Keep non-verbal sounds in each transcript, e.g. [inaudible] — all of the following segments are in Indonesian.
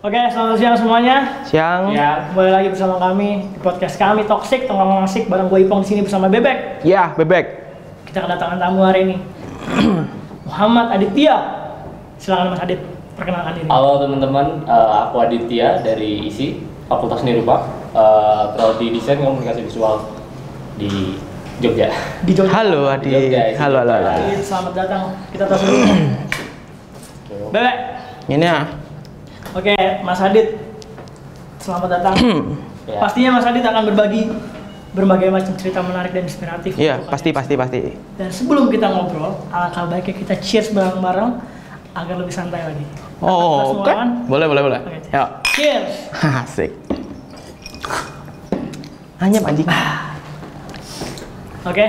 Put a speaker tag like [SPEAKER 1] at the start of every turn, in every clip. [SPEAKER 1] Oke, selamat siang semuanya.
[SPEAKER 2] Siang. Ya,
[SPEAKER 1] Ya, kembali lagi bersama kami di podcast kami Toxic Tongkrong Asik bareng gue Ipong di sini bersama Bebek.
[SPEAKER 2] Ya, bebek.
[SPEAKER 1] Kita kedatangan tamu hari ini. Muhammad Aditya. Silakan Mas Adit perkenalkan diri.
[SPEAKER 3] Halo teman-teman, Eh, aku Aditya dari ISI, Fakultas Seni Rupa, Eh, prodi Desain Komunikasi Visual di Jogja.
[SPEAKER 1] Di Jogja.
[SPEAKER 2] Halo Adi.
[SPEAKER 3] Jogja,
[SPEAKER 2] Halo, halo, halo.
[SPEAKER 1] Adit, selamat datang. Kita tos dulu. Bebek.
[SPEAKER 2] Ini ya.
[SPEAKER 1] Oke, Mas Adit. Selamat datang.
[SPEAKER 3] Ya.
[SPEAKER 1] Pastinya Mas Adit akan berbagi berbagai macam cerita menarik dan inspiratif.
[SPEAKER 2] Iya,
[SPEAKER 1] untuk
[SPEAKER 2] pasti
[SPEAKER 1] kalian.
[SPEAKER 2] pasti pasti.
[SPEAKER 1] Dan sebelum kita ngobrol, alangkah baiknya kita cheers bareng-bareng agar lebih santai lagi. Kita
[SPEAKER 2] Oh,
[SPEAKER 1] semua
[SPEAKER 2] oke.
[SPEAKER 1] kan?
[SPEAKER 2] Boleh, boleh, boleh.
[SPEAKER 1] Oke.
[SPEAKER 2] Ya. [laughs]
[SPEAKER 1] Cheers.
[SPEAKER 2] Asik. Hanya anjing.
[SPEAKER 1] Oke.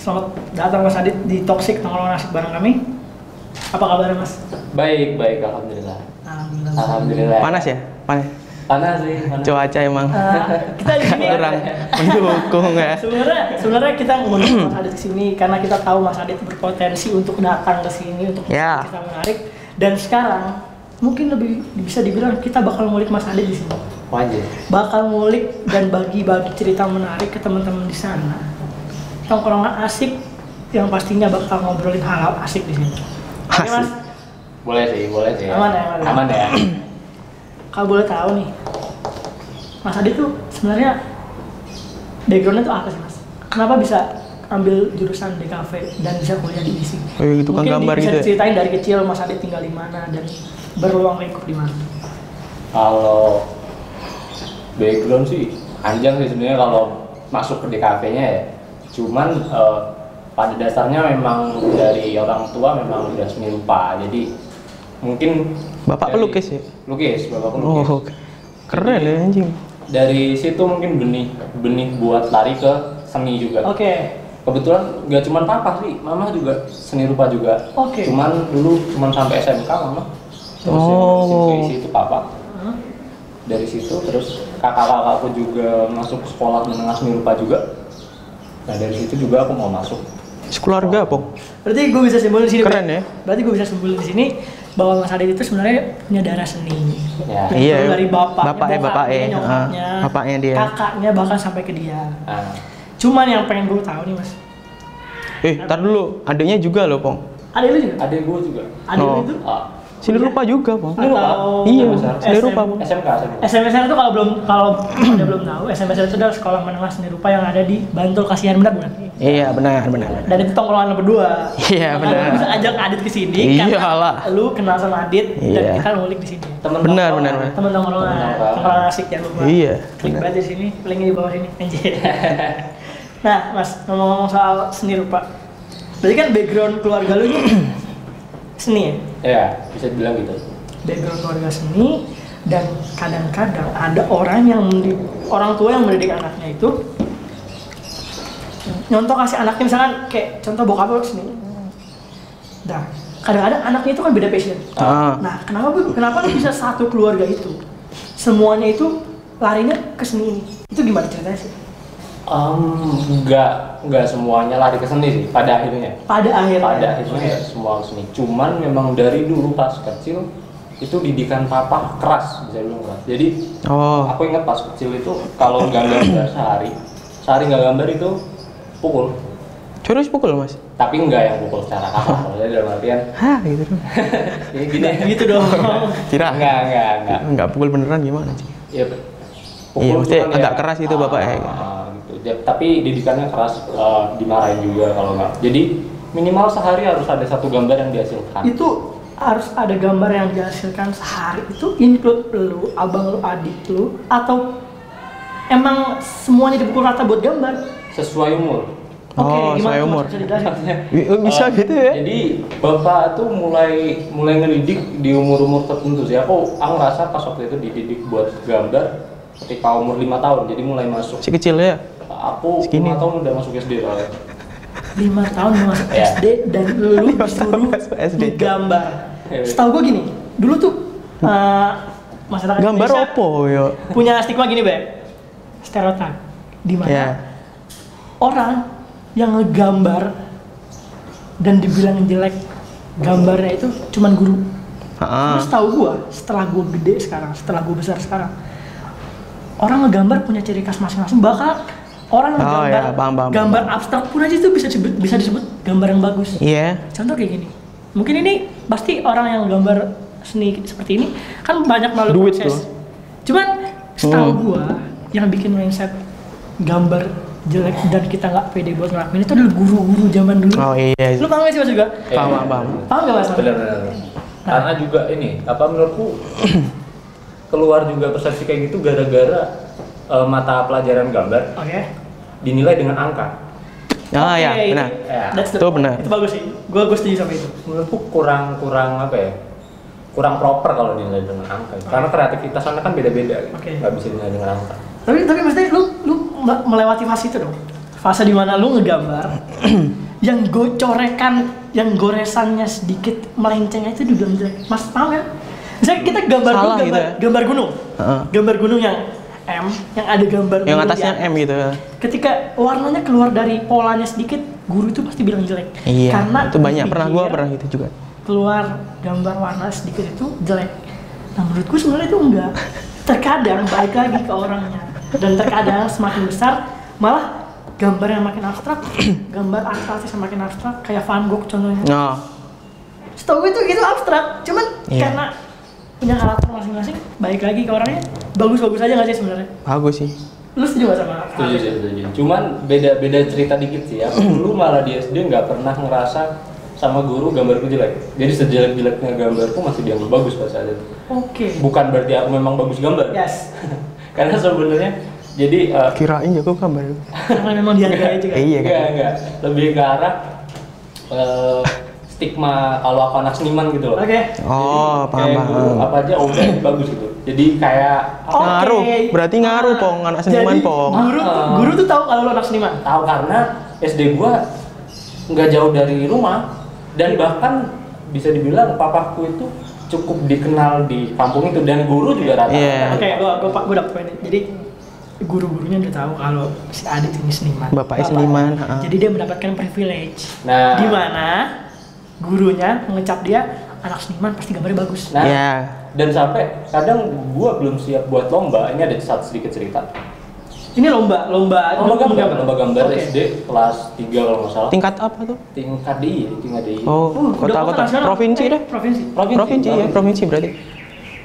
[SPEAKER 1] Selamat datang Mas Adit di Toxic Nongkrong Nasi bareng kami. Apa kabar Mas?
[SPEAKER 3] Baik, baik, alhamdulillah.
[SPEAKER 1] Alhamdulillah.
[SPEAKER 3] Alhamdulillah.
[SPEAKER 2] Panas ya? Panas.
[SPEAKER 3] Panas sih, panas.
[SPEAKER 2] Cuaca emang
[SPEAKER 1] Eh, kita di sini
[SPEAKER 2] kurang mendukung ya.
[SPEAKER 1] Sebenarnya sebenarnya kita mengundang Mas Adit ke sini karena kita tahu Mas Adit berpotensi untuk datang ke sini untuk
[SPEAKER 2] Ya.
[SPEAKER 1] kita menarik dan sekarang mungkin lebih bisa dibilang kita bakal ngulik Mas Adit di sini.
[SPEAKER 3] Wajib.
[SPEAKER 1] bakal ngulik dan bagi-bagi cerita menarik ke teman-teman di sana. Tongkrongan asik yang pastinya bakal ngobrolin hal-hal asik di sini. Oke mas,
[SPEAKER 2] Asik.
[SPEAKER 3] Boleh sih, boleh sih.
[SPEAKER 1] Aman ya, aman ya.
[SPEAKER 3] Aman ya.
[SPEAKER 1] kalau boleh tahu nih, Mas Adi tuh sebenarnya backgroundnya tuh apa sih mas? Kenapa bisa ambil jurusan DKV dan bisa kuliah di sini?
[SPEAKER 2] Oh, iya, tukang
[SPEAKER 1] Mungkin
[SPEAKER 2] gambar
[SPEAKER 1] bisa
[SPEAKER 2] gitu ya?
[SPEAKER 1] diceritain dari kecil Mas Adi tinggal di mana dan berluang lingkup di mana?
[SPEAKER 3] Kalau background sih panjang sih sebenarnya kalau masuk ke DKV-nya ya. Cuman eh, pada dasarnya memang dari orang tua memang udah seni rupa. Jadi mungkin
[SPEAKER 2] Bapak
[SPEAKER 3] dari-
[SPEAKER 2] pelukis ya?
[SPEAKER 3] Lukis, bapak pelukis.
[SPEAKER 2] Oh, oke. keren ya anjing.
[SPEAKER 3] Dari situ mungkin benih benih buat lari ke seni juga. kan.
[SPEAKER 1] Oke,
[SPEAKER 3] Kebetulan gak cuman papa sih, mama juga seni rupa juga.
[SPEAKER 1] Oke.
[SPEAKER 3] Cuman dulu cuman sampai SMK mama. Terus
[SPEAKER 2] Oh.
[SPEAKER 3] yang isi itu papa
[SPEAKER 1] Hah?
[SPEAKER 3] dari situ terus kakak-kakakku juga masuk sekolah menengah seni rupa juga nah dari situ juga aku mau masuk
[SPEAKER 2] Sekeluarga, Pong.
[SPEAKER 1] berarti gue bisa simpulin di sini.
[SPEAKER 2] Keren
[SPEAKER 1] Pak.
[SPEAKER 2] ya?
[SPEAKER 1] Berarti gue bisa simpulin di sini bahwa Mas Adit itu sebenarnya punya darah seni.
[SPEAKER 3] ya
[SPEAKER 1] Yang
[SPEAKER 2] Iya,
[SPEAKER 1] turun dari bapak,
[SPEAKER 2] bapaknya, bapaknya,
[SPEAKER 1] nyokapnya,
[SPEAKER 2] ah, bapaknya dia.
[SPEAKER 1] kakaknya bahkan sampai ke dia.
[SPEAKER 3] nah,
[SPEAKER 1] Cuman yang pengen gue tahu nih mas,
[SPEAKER 2] Eh, tar dulu. Adiknya juga loh, Pong.
[SPEAKER 1] ada lu juga?
[SPEAKER 3] adik gue juga
[SPEAKER 1] Ada lu
[SPEAKER 2] Oh.
[SPEAKER 1] itu?
[SPEAKER 3] Ah,
[SPEAKER 2] Sini rupa juga, Pong.
[SPEAKER 3] Seni rupa.
[SPEAKER 1] Atau
[SPEAKER 2] Iya,
[SPEAKER 3] Besar.
[SPEAKER 2] sini rupa,
[SPEAKER 1] SM.
[SPEAKER 2] Pong.
[SPEAKER 3] SMK SMK
[SPEAKER 1] SMSR itu kalau belum kalau [clears throat] ada belum tahu, SMSR itu adalah sekolah menengah seni rupa yang ada di Bantul Kasihan benar bukan?
[SPEAKER 2] Iya, benar, benar. benar.
[SPEAKER 1] Dan itu tongkrongan lo berdua.
[SPEAKER 2] Iya,
[SPEAKER 1] Makanya
[SPEAKER 2] benar.
[SPEAKER 1] lu Bisa ajak Adit ke sini.
[SPEAKER 2] Iyalah.
[SPEAKER 1] Karena lu kenal sama Adit
[SPEAKER 2] Iya.
[SPEAKER 1] dan kita ngulik di sini.
[SPEAKER 3] temen
[SPEAKER 2] Benar,
[SPEAKER 3] tongkrongan.
[SPEAKER 2] benar, benar.
[SPEAKER 1] Teman tongkrongan,
[SPEAKER 3] Teman
[SPEAKER 1] tongkrongan asik jangan lupa.
[SPEAKER 2] Iya,
[SPEAKER 1] Klik
[SPEAKER 2] benar.
[SPEAKER 1] banget di sini, linknya di bawah sini. Anjir. [laughs] nah, Mas, ngomong-ngomong soal seni rupa. Berarti kan background keluarga lu ini [clears throat] seni ya?
[SPEAKER 3] ya bisa dibilang gitu
[SPEAKER 1] Background keluarga seni dan kadang-kadang ada orang yang mendi- orang tua yang mendidik anaknya itu nyontoh kasih anaknya misalkan kayak contoh bokap lu seni. Nah, kadang-kadang anaknya itu kan beda passion.
[SPEAKER 2] Ah.
[SPEAKER 1] Nah, kenapa Bu? kenapa lu bisa satu keluarga itu? Semuanya itu larinya ke seni ini. Itu gimana ceritanya sih?
[SPEAKER 3] Em, nggak nggak semuanya lari ke seni sih pada akhirnya
[SPEAKER 1] Pada akhirnya.
[SPEAKER 3] pada akhirnya ya semua seni cuman memang dari dulu pas kecil itu didikan papa keras bisa dibilang keras jadi
[SPEAKER 2] Oh,
[SPEAKER 3] Aku ingat pas kecil itu kalau nggak gambar sehari, sehari nggak gambar itu pukul.
[SPEAKER 2] terus pukul, Mas.
[SPEAKER 3] Tapi nggak yang pukul secara
[SPEAKER 2] [laughs]
[SPEAKER 3] kasar, maksudnya dalam artian
[SPEAKER 2] Hah, gitu dong.
[SPEAKER 3] ya
[SPEAKER 2] [laughs]
[SPEAKER 3] gini.
[SPEAKER 1] Gitu dong.
[SPEAKER 2] Tidak.
[SPEAKER 3] Nggak, nggak, nggak.
[SPEAKER 2] Enggak pukul beneran gimana sih?
[SPEAKER 3] Ya,
[SPEAKER 2] Iya, maksudnya
[SPEAKER 3] cuman
[SPEAKER 2] agak keras gitu, Bapak, ya.
[SPEAKER 3] ah, gitu. Ja- Tapi didikannya keras, eh, dimarahin juga kalau nggak. Jadi minimal sehari harus ada satu gambar yang dihasilkan.
[SPEAKER 1] itu harus ada gambar yang dihasilkan sehari itu include lu, abang lu, adik lu atau emang semuanya dipukul rata buat gambar?
[SPEAKER 3] Sesuai umur.
[SPEAKER 1] Oke,
[SPEAKER 2] Oh,
[SPEAKER 1] gimana
[SPEAKER 2] saya
[SPEAKER 1] tuh, Mas?
[SPEAKER 2] umur.
[SPEAKER 1] Bisa dijelasin?
[SPEAKER 2] Wi- oh, Bisa
[SPEAKER 3] Eh,
[SPEAKER 2] gitu ya?
[SPEAKER 3] Jadi bapak tuh mulai mulai ngedidik di umur-umur tertentu sih. Aku aku ngerasa pas waktu itu dididik buat gambar ketika umur lima tahun. Jadi mulai masuk
[SPEAKER 2] Si kecil ya?
[SPEAKER 3] aku
[SPEAKER 2] Segini.
[SPEAKER 3] lima tahun udah masuk SD lah.
[SPEAKER 1] lima tahun lu masuk
[SPEAKER 3] Iya.
[SPEAKER 1] SD dan lu
[SPEAKER 2] [laughs] Lima tahun
[SPEAKER 1] disuruh
[SPEAKER 2] masuk SD.
[SPEAKER 1] gambar.
[SPEAKER 3] Iya.
[SPEAKER 1] Setahu gua gini, dulu tuh eh, masyarakat
[SPEAKER 2] Gambar
[SPEAKER 1] Indonesia
[SPEAKER 2] opo yo.
[SPEAKER 1] punya stigma gini, Beb. Stereotip di mana
[SPEAKER 2] Ya.
[SPEAKER 1] orang yang ngegambar dan dibilang jelek gambarnya itu cuman guru.
[SPEAKER 2] Ah.
[SPEAKER 1] Terus tahu gua setelah gua gede sekarang, setelah gua besar sekarang, orang ngegambar punya ciri khas masing-masing. Bahkan orang
[SPEAKER 2] Oh,
[SPEAKER 1] ngegambar
[SPEAKER 2] iya, paham, paham.
[SPEAKER 1] gambar abstrak pun aja itu bisa disebut, bisa disebut gambar yang bagus.
[SPEAKER 2] Iya.
[SPEAKER 1] Contoh kayak gini. Mungkin ini pasti orang yang gambar seni seperti ini kan banyak melalui
[SPEAKER 2] Duit
[SPEAKER 1] proses.
[SPEAKER 2] tuh.
[SPEAKER 1] Cuman setahu
[SPEAKER 2] Hmm.
[SPEAKER 1] gua yang bikin mindset gambar jelek dan kita nggak pede buat ngelakuin itu adalah guru-guru zaman dulu.
[SPEAKER 2] Oh iya.
[SPEAKER 1] Lu paham gak sih mas juga?
[SPEAKER 2] Paham, paham.
[SPEAKER 1] Paham gak mas?
[SPEAKER 3] benar benar karena juga ini apa menurutku keluar juga persepsi kayak gitu gara-gara eh, mata pelajaran gambar
[SPEAKER 1] Oke.
[SPEAKER 3] dinilai dengan angka
[SPEAKER 2] Ah ya,
[SPEAKER 1] Oke, itu-
[SPEAKER 2] benar.
[SPEAKER 3] Ya.
[SPEAKER 1] That's the
[SPEAKER 2] Itu
[SPEAKER 1] point.
[SPEAKER 2] benar.
[SPEAKER 1] Itu bagus sih. Gua gue setuju sama itu.
[SPEAKER 3] menurutku kurang kurang apa ya kurang proper kalau dinilai dengan angka karena kreativitas anak kan beda-beda gitu.
[SPEAKER 1] Oke.
[SPEAKER 3] nggak bisa dinilai dengan angka
[SPEAKER 1] Tapi tapi maksudnya lu lu nggak melewati fase itu dong. Fase dimana lu
[SPEAKER 2] [clears throat]
[SPEAKER 1] ngegambar yang gocorekan, yang goresannya sedikit melencengnya itu udah jelek. Mas paham kan? Misalnya kita gambar
[SPEAKER 2] Salah
[SPEAKER 1] gunung, gambar,
[SPEAKER 2] gitu ya?
[SPEAKER 1] gambar gunung,
[SPEAKER 2] Heeh.
[SPEAKER 1] gambar gunung yang M, yang ada gambar
[SPEAKER 2] Yang
[SPEAKER 1] gunung di
[SPEAKER 2] atasnya
[SPEAKER 1] atas.
[SPEAKER 2] M gitu.
[SPEAKER 1] ketika warnanya keluar dari polanya sedikit guru itu pasti bilang jelek
[SPEAKER 2] Iya.
[SPEAKER 1] karena
[SPEAKER 2] itu banyak. Pernah gua
[SPEAKER 1] dipikir
[SPEAKER 2] pernah gitu juga.
[SPEAKER 1] keluar gambar warna sedikit itu jelek nah menurutku sebenarnya itu enggak terkadang balik lagi ke orangnya dan terkadang semakin besar malah gambar yang makin abstrak [clears throat] gambar abstrak yang makin abstrak kayak Van Gogh contohnya
[SPEAKER 2] Oh.
[SPEAKER 1] setahu gue itu itu abstrak cuman
[SPEAKER 2] Iya.
[SPEAKER 1] karena punya karakter masing-masing balik lagi ke orangnya bagus-bagus aja nggak sih sebenarnya
[SPEAKER 2] Bagus sih.
[SPEAKER 1] lu setuju gak sama
[SPEAKER 3] setuju sih, setuju cuman beda beda cerita dikit sih [clears throat] ya dulu malah di SD nggak pernah ngerasa sama guru gambarku jelek jadi sejelek jeleknya gambarku masih dianggap bagus pas saat itu
[SPEAKER 1] oke
[SPEAKER 3] bukan berarti aku memang bagus gambar
[SPEAKER 1] yes
[SPEAKER 3] [laughs] karena sebenarnya jadi eh,
[SPEAKER 2] Kirain jago gambar.
[SPEAKER 1] karena memang dihargai juga
[SPEAKER 2] Eh, iya kan.
[SPEAKER 3] enggak, enggak. lebih ke arah eh, stigma kalau aku anak seniman gitu loh
[SPEAKER 1] oke
[SPEAKER 2] Oh,
[SPEAKER 3] Jadi,
[SPEAKER 1] Eh,
[SPEAKER 2] paham
[SPEAKER 3] kayak guru
[SPEAKER 2] paham.
[SPEAKER 3] apa aja oh udah, ini bagus gitu jadi kayak
[SPEAKER 1] Oke.
[SPEAKER 2] Ngaruh. Berarti ngaruh, Pong. Anak seniman,
[SPEAKER 1] Jadi,
[SPEAKER 2] Pong.
[SPEAKER 1] Guru,
[SPEAKER 3] Ah.
[SPEAKER 1] guru tuh tahu kalau lu anak seniman.
[SPEAKER 3] tahu karena SD gua nggak jauh dari rumah dan bahkan bisa dibilang papaku itu cukup dikenal di kampung itu dan guru juga rata
[SPEAKER 2] Iya.
[SPEAKER 1] Oke, gua gua gua dapet poinnya. Jadi guru-gurunya udah tahu kalau si Adit ini seniman.
[SPEAKER 2] Bapaknya seniman, ha-ha.
[SPEAKER 1] Jadi dia mendapatkan privilege.
[SPEAKER 3] Nah.
[SPEAKER 1] Di mana gurunya mengecap dia anak seniman pasti gambarnya bagus.
[SPEAKER 3] Nah,
[SPEAKER 2] Iya.
[SPEAKER 3] dan sampai kadang gua belum siap buat lomba ini ada satu sedikit cerita
[SPEAKER 1] Ini lomba, lomba
[SPEAKER 3] Oh, lomba gambar lomba gambar
[SPEAKER 1] Oke.
[SPEAKER 3] SD kelas 3 kalau nggak salah
[SPEAKER 2] Tingkat apa tuh?
[SPEAKER 3] tingkat DI tingkat DI
[SPEAKER 2] Oh,
[SPEAKER 1] Uh, udah
[SPEAKER 2] kota-kota
[SPEAKER 1] nasional.
[SPEAKER 2] provinsi
[SPEAKER 1] Eh,
[SPEAKER 2] deh.
[SPEAKER 3] [laughs]
[SPEAKER 1] Provinsi.
[SPEAKER 3] provinsi,
[SPEAKER 2] Provinsi ya, provinsi berarti.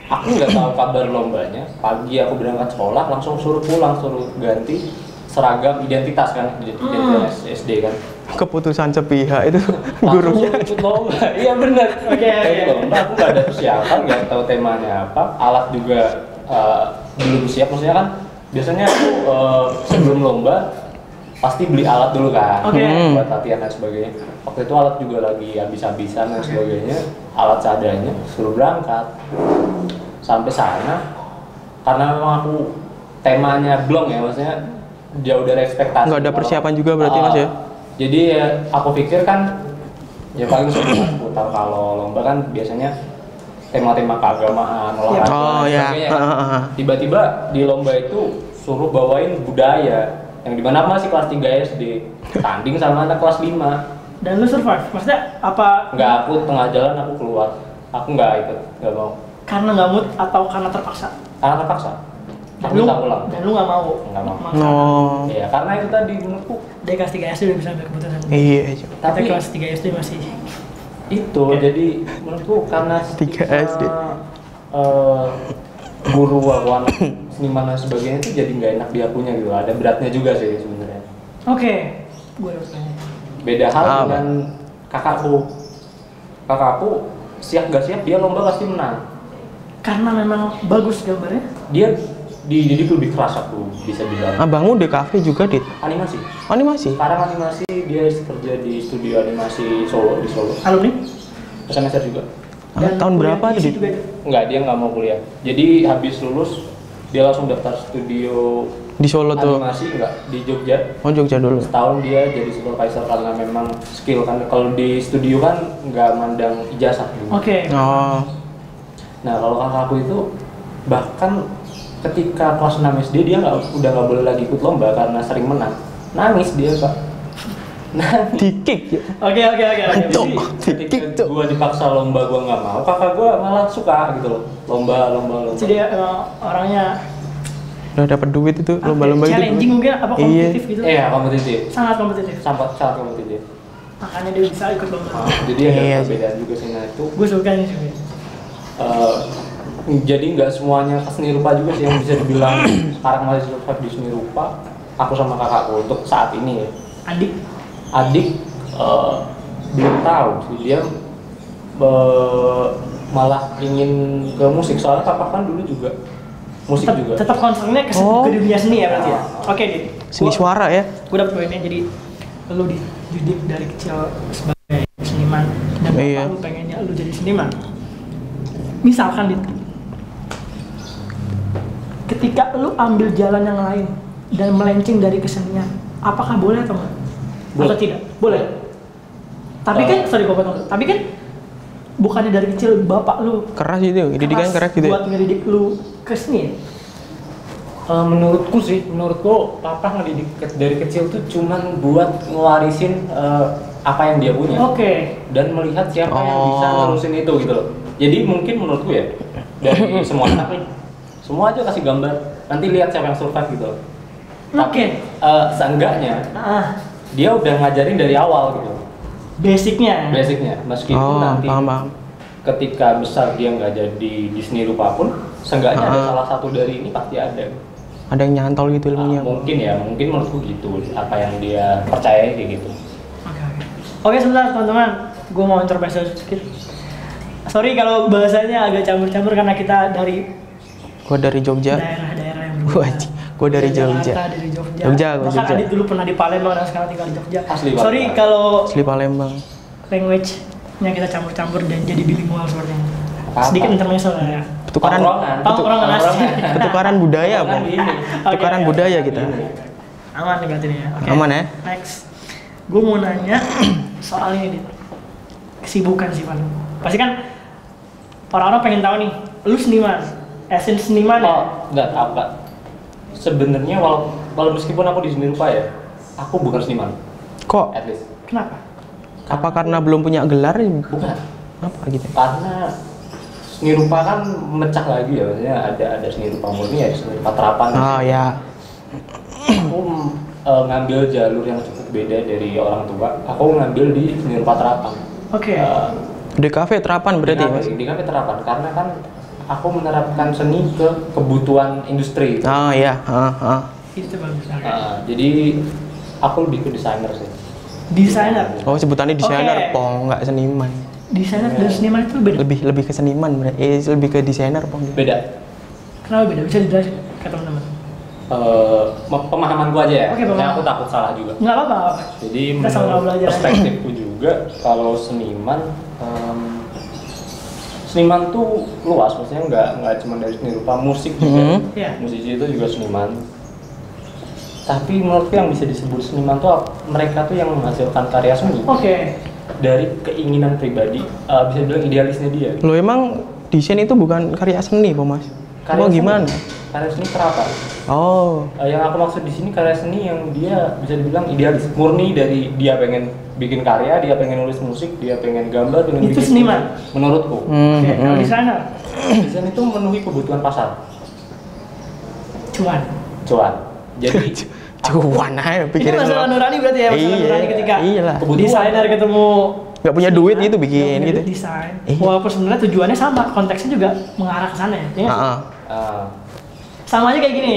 [SPEAKER 3] aku nggak tahu kabar lombanya pagi aku berangkat sekolah langsung suruh pulang suruh ganti seragam identitas kan identitas SD kan
[SPEAKER 2] Keputusan sepihak itu [laughs]
[SPEAKER 3] Langsung
[SPEAKER 2] gurunya.
[SPEAKER 3] suruh ikut lomba iya benar
[SPEAKER 1] Oke,
[SPEAKER 3] Kayak
[SPEAKER 1] oke.
[SPEAKER 3] ikut lomba Eh, aku nggak ada persiapan nggak tahu temanya apa alat juga eh, belum siap maksudnya kan biasanya aku eh, sebelum lomba pasti beli alat dulu kan
[SPEAKER 1] Oke.
[SPEAKER 3] buat
[SPEAKER 2] Hmm.
[SPEAKER 3] latihan dan sebagainya waktu itu alat juga lagi habis-habisan dan sebagainya alat seadanya suruh berangkat sampai sana karena memang aku temanya belum ya maksudnya jauh dari ekspektasi
[SPEAKER 2] Nggak ada persiapan juga berarti,
[SPEAKER 3] Ah,
[SPEAKER 2] Mas, ya?
[SPEAKER 3] jadi ya aku pikir kan ya paling seputar seputar kalau lomba kan biasanya tema-tema keagamaan olahraga
[SPEAKER 2] Oh
[SPEAKER 3] dan
[SPEAKER 2] ya.
[SPEAKER 3] sebagainya
[SPEAKER 2] Ha,
[SPEAKER 3] kan.
[SPEAKER 2] ha, ha.
[SPEAKER 3] tiba-tiba di lomba itu suruh bawain budaya yang dimana aku masih kelas 3 SD tanding sama anak kelas 5
[SPEAKER 1] Dan lu survive. Maksudnya apa
[SPEAKER 3] nggak aku tengah jalan aku keluar aku nggak ikut nggak mau
[SPEAKER 1] karena nggak mood atau karena terpaksa?
[SPEAKER 3] karena terpaksa
[SPEAKER 1] Dan
[SPEAKER 3] aku
[SPEAKER 1] lu,
[SPEAKER 3] minta pulang
[SPEAKER 1] dan lu nggak mau.
[SPEAKER 3] Nggak mau.
[SPEAKER 1] Memaksakan.
[SPEAKER 2] No.
[SPEAKER 3] Iya, karena itu tadi menurutku
[SPEAKER 1] Dia kelas 3 SD udah bisa ambil keputusan.
[SPEAKER 2] Iya, iya.
[SPEAKER 1] Tapi
[SPEAKER 3] tapi
[SPEAKER 1] kelas 3 SD masih.
[SPEAKER 3] itu jadi menurutku karena
[SPEAKER 2] Tiga
[SPEAKER 3] stigma,
[SPEAKER 2] SD.
[SPEAKER 3] eh, guru wawan seniman dan sebagainya itu jadi nggak enak diakunya gitu ada beratnya juga sih sebenarnya
[SPEAKER 1] Oke, gue harus nanya.
[SPEAKER 3] beda hal
[SPEAKER 2] Apa?
[SPEAKER 3] dengan kakakku kakakku siap gak siap dia lomba pasti menang
[SPEAKER 1] Karena memang bagus gambarnya.
[SPEAKER 3] dia dididik lebih keras aku bisa bilang
[SPEAKER 2] Abangmu di kafe juga, Dit.
[SPEAKER 3] animasi
[SPEAKER 2] Animasi.
[SPEAKER 3] sekarang animasi dia kerja di studio animasi Solo di Solo
[SPEAKER 1] Alumni.
[SPEAKER 3] semester juga
[SPEAKER 2] Ah, tahun
[SPEAKER 1] kuliah
[SPEAKER 2] berapa tuh,
[SPEAKER 1] di
[SPEAKER 2] Dit?
[SPEAKER 1] situ juga.
[SPEAKER 3] Enggak, dia nggak mau kuliah. Jadi habis lulus dia langsung daftar studio
[SPEAKER 2] Di Solo tuh.
[SPEAKER 3] animasi enggak di Jogja.
[SPEAKER 2] Oh, Jogja dulu.
[SPEAKER 3] Setahun dia jadi supervisor karena memang skill kan kalau di studio kan nggak mandang ijazah dulu.
[SPEAKER 1] Oke.
[SPEAKER 2] Oh.
[SPEAKER 3] Nah, kalau kakakku itu bahkan ketika kelas 6 SD dia nggak udah nggak boleh lagi ikut lomba karena sering menang. Nangis dia, Pak.
[SPEAKER 2] Dikik ya.
[SPEAKER 1] Oke oke oke. oke.
[SPEAKER 2] Cok,
[SPEAKER 3] Jadi,
[SPEAKER 2] dikik,
[SPEAKER 3] ketika
[SPEAKER 2] cok.
[SPEAKER 3] gua dipaksa lomba gua nggak mau, kakak gua malah suka gitu loh. Lomba, lomba, lomba.
[SPEAKER 1] Jadi
[SPEAKER 2] ya?
[SPEAKER 1] dia emang orangnya
[SPEAKER 2] Udah dapat duit itu lomba-lomba
[SPEAKER 1] Ah,
[SPEAKER 2] gitu.
[SPEAKER 1] challenging mungkin apa
[SPEAKER 2] Iya.
[SPEAKER 1] kompetitif gitu.
[SPEAKER 3] Iya, kompetitif.
[SPEAKER 1] Sangat kompetitif.
[SPEAKER 3] Sampai saat kompetitif.
[SPEAKER 1] Makanya dia bisa ikut
[SPEAKER 3] Nah,
[SPEAKER 1] lomba.
[SPEAKER 3] jadi ada
[SPEAKER 2] Iya sih.
[SPEAKER 3] perbedaan juga sih nah itu.
[SPEAKER 1] Gue suka nih sebenarnya.
[SPEAKER 3] eh, jadi nggak semuanya seni rupa juga sih yang bisa dibilang sekarang masih survive di seni rupa. Aku sama kakakku untuk saat ini ya.
[SPEAKER 1] Adik.
[SPEAKER 3] adik eh, belum tahu sih. dia eh, malah ingin ke musik soalnya kakak kan dulu juga musik
[SPEAKER 1] tetap,
[SPEAKER 3] juga
[SPEAKER 1] tetap concernnya ke,
[SPEAKER 2] Oh.
[SPEAKER 1] ke dunia seni ya berarti ya.
[SPEAKER 3] Ah.
[SPEAKER 1] Oke deh.
[SPEAKER 2] Seni suara ya.
[SPEAKER 1] Gue dapet poinnya jadi lu dididik dari kecil sebagai seniman dan bapak
[SPEAKER 2] Iya.
[SPEAKER 1] lu pengennya lu jadi seniman. Misalkan Dit, ketika lu ambil jalan yang lain dan melenceng dari kesenian, apakah boleh atau enggak? Atau
[SPEAKER 3] Boleh.
[SPEAKER 1] tidak? Boleh. Tapi
[SPEAKER 3] Eh.
[SPEAKER 1] kan, sorry gue potong. dulu. Tapi kan bukannya dari kecil bapak lu
[SPEAKER 2] Keras gitu, didikan keras gitu. ya.
[SPEAKER 1] buat ngedidik lu ke seni ya?
[SPEAKER 3] Eh, menurutku sih menurutku papa ngedidik ke- dari kecil tuh cuman buat ngewarisin eh, apa yang dia punya
[SPEAKER 1] Oke.
[SPEAKER 3] dan melihat siapa yang bisa
[SPEAKER 2] Oh.
[SPEAKER 3] nerusin itu gitu loh jadi mungkin menurutku ya
[SPEAKER 2] [laughs]
[SPEAKER 3] dari semua anak nih semua aja kasih gambar nanti lihat siapa yang survive gitu loh
[SPEAKER 1] Oke.
[SPEAKER 3] Eh, seenggaknya
[SPEAKER 1] Ah,
[SPEAKER 3] dia udah ngajarin dari awal gitu
[SPEAKER 1] basicnya.
[SPEAKER 3] basicnya
[SPEAKER 1] gitu
[SPEAKER 3] meskipun
[SPEAKER 2] Oh,
[SPEAKER 3] nanti
[SPEAKER 2] paham, paham.
[SPEAKER 3] ketika besar dia nggak jadi di seni rupa pun seenggaknya ada
[SPEAKER 2] Ah.
[SPEAKER 3] salah satu dari ini pasti ada
[SPEAKER 2] Ada yang nyantol gitu
[SPEAKER 3] Ah,
[SPEAKER 2] ilmunya.
[SPEAKER 3] mungkin ya mungkin menurutku gitu apa yang dia percaya kayak gitu
[SPEAKER 1] Oke, oke. Oke, sebentar teman-teman. Gue mau intervensi sedikit. Sorry kalau bahasanya agak campur-campur karena kita dari
[SPEAKER 2] Gua dari
[SPEAKER 1] Nah,
[SPEAKER 2] Jogja.
[SPEAKER 1] daerah-daerah yang
[SPEAKER 2] Gua aja- gua dari
[SPEAKER 1] Jakarta,
[SPEAKER 2] Jogja.
[SPEAKER 1] dari Jogja.
[SPEAKER 2] Jogja, gua
[SPEAKER 1] Bahkan
[SPEAKER 2] Jogja.
[SPEAKER 1] Adit dulu pernah di Palembang dan sekarang tinggal di Jogja.
[SPEAKER 3] Asli banget.
[SPEAKER 1] Sorry kalau
[SPEAKER 2] Asli Palembang.
[SPEAKER 1] language-nya kita campur-campur dan jadi bilingual seperti ini.
[SPEAKER 3] Apa-apa.
[SPEAKER 1] Sedikit internasional ya.
[SPEAKER 2] Tukaran
[SPEAKER 3] Tongkrongan.
[SPEAKER 1] Tongkrongan asli.
[SPEAKER 3] Tongkrongan.
[SPEAKER 2] tukaran budaya,
[SPEAKER 3] Tongkrongan
[SPEAKER 2] Bang.
[SPEAKER 3] ini.
[SPEAKER 1] Oke,
[SPEAKER 2] Tukaran
[SPEAKER 1] oke. Iya.
[SPEAKER 2] budaya kita.
[SPEAKER 3] Ini.
[SPEAKER 1] Aman nih berarti nih ya. Oke.
[SPEAKER 2] Aman ya?
[SPEAKER 1] Next. Gue mau nanya [clears throat] soal ini, Dit. Kesibukan sih, Pan. Pasti kan orang-orang pengen tahu nih, lu seniman. Esin seniman ya?
[SPEAKER 3] Oh, nggak apa. Sebenarnya walau, walau meskipun aku di seni rupa ya, aku bukan seniman.
[SPEAKER 2] Kok?
[SPEAKER 3] At least.
[SPEAKER 1] Kenapa?
[SPEAKER 2] Apa karena belum punya gelar?
[SPEAKER 3] Bukan.
[SPEAKER 2] Apa gitu?
[SPEAKER 3] Karena seni rupa kan mecah lagi ya, maksudnya ada ada seni rupa murni ya, seni rupa terapan.
[SPEAKER 2] Oh ya,
[SPEAKER 3] Aku mm, eh, ngambil jalur yang cukup beda dari orang tua. Aku ngambil di seni rupa terapan.
[SPEAKER 1] Oke.
[SPEAKER 3] Eh,
[SPEAKER 2] di kafe terapan berarti
[SPEAKER 3] di
[SPEAKER 2] ya,
[SPEAKER 3] kafe-
[SPEAKER 2] mas.
[SPEAKER 3] Di kafe terapan karena kan aku menerapkan seni ke kebutuhan industri.
[SPEAKER 2] Oh ya, ah, ah.
[SPEAKER 1] Itu bagus. oke.
[SPEAKER 3] Eh, jadi aku lebih ke desainer sih.
[SPEAKER 1] Desainer.
[SPEAKER 2] Oh sebutannya desainer,
[SPEAKER 1] Oke.
[SPEAKER 2] pong nggak seniman.
[SPEAKER 1] Desainer dan seniman itu beda.
[SPEAKER 2] Lebih lebih ke seniman berarti, eh, lebih ke desainer pong.
[SPEAKER 3] Beda.
[SPEAKER 1] Kenapa beda? Bisa dijelasin ke teman-teman.
[SPEAKER 3] eh, me- pemahaman gua aja ya.
[SPEAKER 1] Oke, pemahaman.
[SPEAKER 3] Karena aku takut salah juga.
[SPEAKER 1] Nggak apa-apa. nggak apa-apa.
[SPEAKER 3] Jadi
[SPEAKER 1] Kita sama-sama
[SPEAKER 3] menurut
[SPEAKER 1] belajar ya. aja.
[SPEAKER 3] perspektifku juga kalau seniman em, seniman tuh luas maksudnya nggak nggak cuma dari seni rupa musik juga.
[SPEAKER 2] Mhm.
[SPEAKER 1] Iya.
[SPEAKER 3] Musisi itu juga seniman. Tapi menurutku yang bisa disebut seniman tuh ap- mereka tuh yang menghasilkan karya seni
[SPEAKER 1] Oke.
[SPEAKER 3] dari keinginan pribadi eh, bisa bilang idealisnya dia.
[SPEAKER 2] Lo emang desain itu bukan karya seni, pong mas? Karya
[SPEAKER 3] seni-
[SPEAKER 2] gimana?
[SPEAKER 3] Karya seni terapan.
[SPEAKER 2] Oh,
[SPEAKER 3] Eh, yang aku maksud di sini karya seni yang dia bisa dibilang idealis murni dari dia pengen bikin karya dia pengen nulis musik dia pengen gambar pengen
[SPEAKER 1] Itu
[SPEAKER 3] bikin
[SPEAKER 1] seniman?
[SPEAKER 3] film. menurutku
[SPEAKER 2] hmm,
[SPEAKER 1] Oke, kalau
[SPEAKER 2] hmm.
[SPEAKER 1] desainer
[SPEAKER 3] desain itu memenuhi kebutuhan pasar
[SPEAKER 1] cuan.
[SPEAKER 3] cuan jadi
[SPEAKER 2] [laughs] cuan aja
[SPEAKER 1] Ini
[SPEAKER 2] pikirin
[SPEAKER 1] masalah
[SPEAKER 2] doang.
[SPEAKER 1] nurani berarti ya, masalah
[SPEAKER 2] Iya,
[SPEAKER 1] nurani ketika
[SPEAKER 2] iyalah.
[SPEAKER 3] Kebutuhan.
[SPEAKER 1] desainer ketemu
[SPEAKER 2] Nggak punya duit gitu bikin
[SPEAKER 1] Yang punya
[SPEAKER 2] gitu.
[SPEAKER 1] duit desain
[SPEAKER 2] Iya.
[SPEAKER 1] walaupun sebenarnya tujuannya sama konteksnya juga mengarah ke sana ya, ya nggak sih?
[SPEAKER 2] Ah, ah.
[SPEAKER 3] eh,
[SPEAKER 1] sama aja kayak gini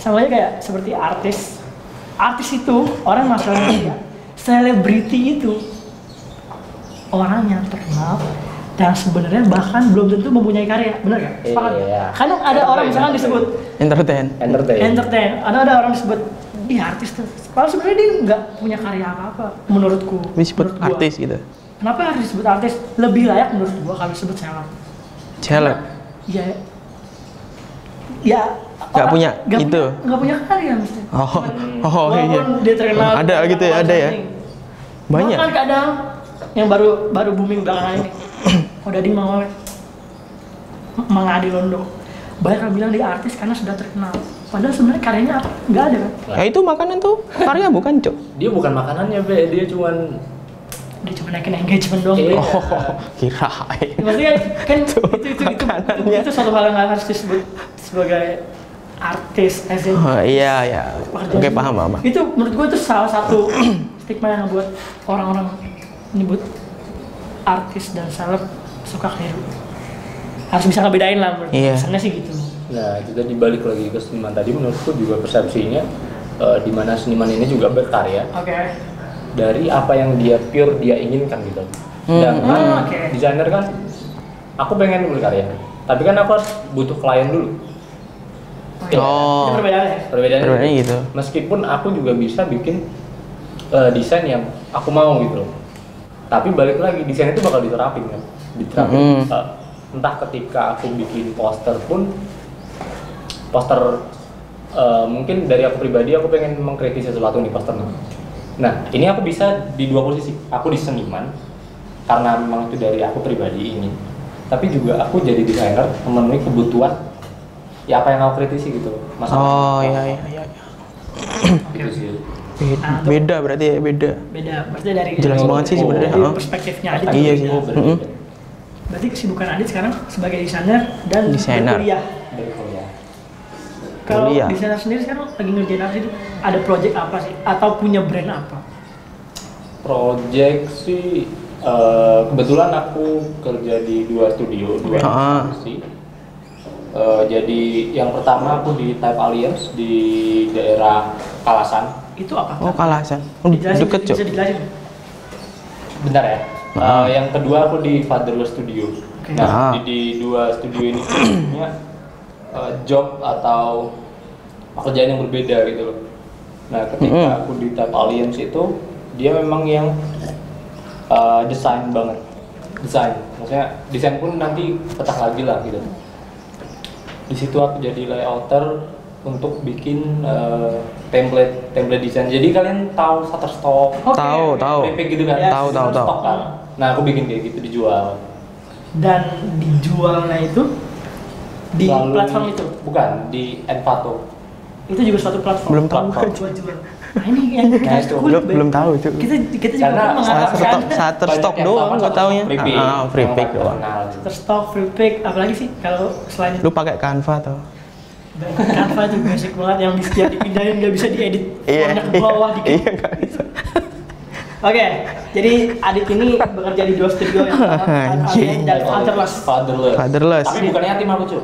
[SPEAKER 1] sama aja kayak seperti artis artis itu orang masalah media selebriti itu orang yang terkenal dan sebenarnya bahkan belum tentu mempunyai karya benar nggak Sepakat?
[SPEAKER 3] Iya.
[SPEAKER 1] kadang ada orang misalkan disebut
[SPEAKER 2] Iya, entertain.
[SPEAKER 3] entertain
[SPEAKER 1] entertain ada ada orang disebut dia artis tuh kalau sebenarnya dia nggak punya karya apa apa menurutku
[SPEAKER 2] Disebut
[SPEAKER 1] Menurut gua.
[SPEAKER 2] artis gitu.
[SPEAKER 1] kenapa harus disebut artis lebih layak menurut gua kalau disebut seleb
[SPEAKER 2] Celeb.
[SPEAKER 1] ya ya
[SPEAKER 2] Nggak
[SPEAKER 1] orang
[SPEAKER 2] punya
[SPEAKER 1] nggak
[SPEAKER 2] itu.
[SPEAKER 1] punya- nggak punya karya maksudnya
[SPEAKER 2] Oh,
[SPEAKER 1] Cuman,
[SPEAKER 2] oh iya.
[SPEAKER 1] walaupun dia terkenal
[SPEAKER 2] Ada
[SPEAKER 1] terkenal
[SPEAKER 2] gitu ya, ada ya.
[SPEAKER 1] something.
[SPEAKER 2] Banyak.
[SPEAKER 1] bahkan kadang yang baru baru booming belakangan
[SPEAKER 2] [coughs]
[SPEAKER 1] ini udah di mau Mang Adi Londo banyak yang bilang dia artis karena sudah terkenal Padahal sebenarnya karyanya apa? Nggak ada kan?
[SPEAKER 2] Ya itu makanan tuh karya bukan, Cok.
[SPEAKER 3] Dia bukan makanannya, Be. Dia cuman
[SPEAKER 1] Dia cuma naikin engagement doang.
[SPEAKER 3] Iya.
[SPEAKER 2] Oh, kirain.
[SPEAKER 1] Ya, Maksudnya
[SPEAKER 2] [laughs]
[SPEAKER 1] kan itu itu itu, itu,
[SPEAKER 2] makanannya.
[SPEAKER 1] itu suatu hal yang nggak harus disebut sebagai artis as in
[SPEAKER 2] Oh, iya, ya.
[SPEAKER 1] pekerjaan.
[SPEAKER 2] Oke, paham, paham.
[SPEAKER 1] Itu menurut gue itu salah
[SPEAKER 2] [clears throat]
[SPEAKER 1] satu stigma yang buat orang-orang nyebut artis dan seleb suka keliru. Harus bisa ngebedain lah menurut
[SPEAKER 2] Iya.
[SPEAKER 1] pesannya sih gitu.
[SPEAKER 3] Nah, itu tadi balik lagi ke seniman tadi menurutku juga persepsinya eh, di mana seniman ini juga berkarya
[SPEAKER 1] Oke.
[SPEAKER 3] dari apa yang dia pure dia inginkan gitu.
[SPEAKER 2] Hmm.
[SPEAKER 3] Dan kan
[SPEAKER 1] Hmm, oke.
[SPEAKER 3] desainer kan aku pengen beli karya, tapi kan aku harus butuh klien dulu.
[SPEAKER 1] iya.
[SPEAKER 2] Oh.
[SPEAKER 1] Itu perbedaannya.
[SPEAKER 3] Perbedaannya,
[SPEAKER 2] Perbedaannya gitu.
[SPEAKER 3] Meskipun aku juga bisa bikin eh, desain yang aku mau gitu. loh. Tapi balik lagi desain itu bakal diterapin kan. Diterapin
[SPEAKER 2] Mm-mm.
[SPEAKER 3] eh, entah ketika aku bikin poster pun poster eh, mungkin dari aku pribadi aku pengen mengkritisi sesuatu nih posternya. Nah, ini aku bisa di dua posisi. Aku di seniman karena memang itu dari aku pribadi ingin. Tapi juga aku jadi desainer memenuhi kebutuhan ya apa yang aku kritisi gitu.
[SPEAKER 2] Oh, iya,
[SPEAKER 3] iya
[SPEAKER 2] iya, iya.
[SPEAKER 3] gitu sih
[SPEAKER 2] Be-
[SPEAKER 1] Ah, tuh.
[SPEAKER 2] Beda berarti ya, beda.
[SPEAKER 1] Beda. Maksudnya dari
[SPEAKER 2] Jelas banget sih sebenarnya,
[SPEAKER 1] dari
[SPEAKER 2] ha.
[SPEAKER 1] perspektifnya aja.
[SPEAKER 2] Iya sih.
[SPEAKER 3] Oh, berarti
[SPEAKER 2] Mm-mm.
[SPEAKER 1] Berarti kesibukan Adit sekarang sebagai desainer dan
[SPEAKER 2] Desainer.
[SPEAKER 1] berkuliah.
[SPEAKER 3] dari kuliah.
[SPEAKER 1] Kalau
[SPEAKER 2] Kuliah.
[SPEAKER 1] desainer sendiri sekarang lagi ngerjain apa sih? Ada project apa sih? Atau punya brand apa?
[SPEAKER 3] project sih eh, kebetulan aku kerja di dua studio dua
[SPEAKER 2] Ah.
[SPEAKER 3] institusi Eh, jadi yang pertama aku di Type Alliance di daerah Kalasan
[SPEAKER 1] Itu apa?
[SPEAKER 2] Oh, kalasan. Oh,
[SPEAKER 1] Dijelasin,
[SPEAKER 2] deket, Cok.
[SPEAKER 1] Bisa dijelasin.
[SPEAKER 3] bentar ya Eh,
[SPEAKER 2] Ah.
[SPEAKER 3] yang kedua aku di Fatherless Studio
[SPEAKER 1] Oke.
[SPEAKER 2] Ah.
[SPEAKER 3] nah di, di dua studio ini tuh punya eh, job atau pekerjaan yang berbeda gitu loh nah ketika
[SPEAKER 2] Mm-mm.
[SPEAKER 3] aku di Type Alliance itu dia memang yang eh, desain banget desain maksudnya desain pun nanti pecah lagi lah gitu di situ aku jadi layouter untuk bikin eh, template template desain jadi kalian tahu Shutterstock
[SPEAKER 1] Oke.
[SPEAKER 2] Tahu, tahu.
[SPEAKER 3] PP gitu kan
[SPEAKER 1] Ya,
[SPEAKER 2] Tahu, tahu, tahu.
[SPEAKER 3] Stok kan. nah aku bikin kayak gitu dijual
[SPEAKER 1] Dan dijualnya itu di
[SPEAKER 3] Lalu-
[SPEAKER 1] platform itu.
[SPEAKER 3] bukan di Envato
[SPEAKER 1] Itu juga suatu platform.
[SPEAKER 2] Belum tahu.
[SPEAKER 1] Platform. Jual-jual. Nah, ini yang kita
[SPEAKER 3] Nah, itu.
[SPEAKER 1] kulik,
[SPEAKER 2] Belum
[SPEAKER 1] Bay.
[SPEAKER 2] belum tahu itu.
[SPEAKER 1] Kita kita juga
[SPEAKER 3] Karena
[SPEAKER 1] kan
[SPEAKER 3] salah
[SPEAKER 1] mengarahkan
[SPEAKER 2] Shutterstock, Shutterstock
[SPEAKER 3] Banyak yang
[SPEAKER 2] doang
[SPEAKER 3] tahu
[SPEAKER 2] gua
[SPEAKER 3] Shutterstock
[SPEAKER 2] taunya.
[SPEAKER 3] free pick.
[SPEAKER 2] Ah, ah, free
[SPEAKER 3] Yang
[SPEAKER 2] pick
[SPEAKER 3] paling
[SPEAKER 2] doang.
[SPEAKER 3] terkenal.
[SPEAKER 1] Shutterstock, Flipik, apalagi sih kalau selain
[SPEAKER 2] Lu pakai Canva tuh.
[SPEAKER 1] Canva itu basic banget yang di setiap dipindahin nggak bisa diedit warna ke
[SPEAKER 2] iya.
[SPEAKER 1] bawah dikit.
[SPEAKER 2] Iya, nggak bisa.
[SPEAKER 1] Oke, jadi Adit ini bekerja di dua studio yang pertama
[SPEAKER 2] [laughs] Anjing.
[SPEAKER 1] Alien dan Fatherless.
[SPEAKER 3] Fatherless.
[SPEAKER 2] Fatherless.
[SPEAKER 3] tapi bukan yatim aku cuy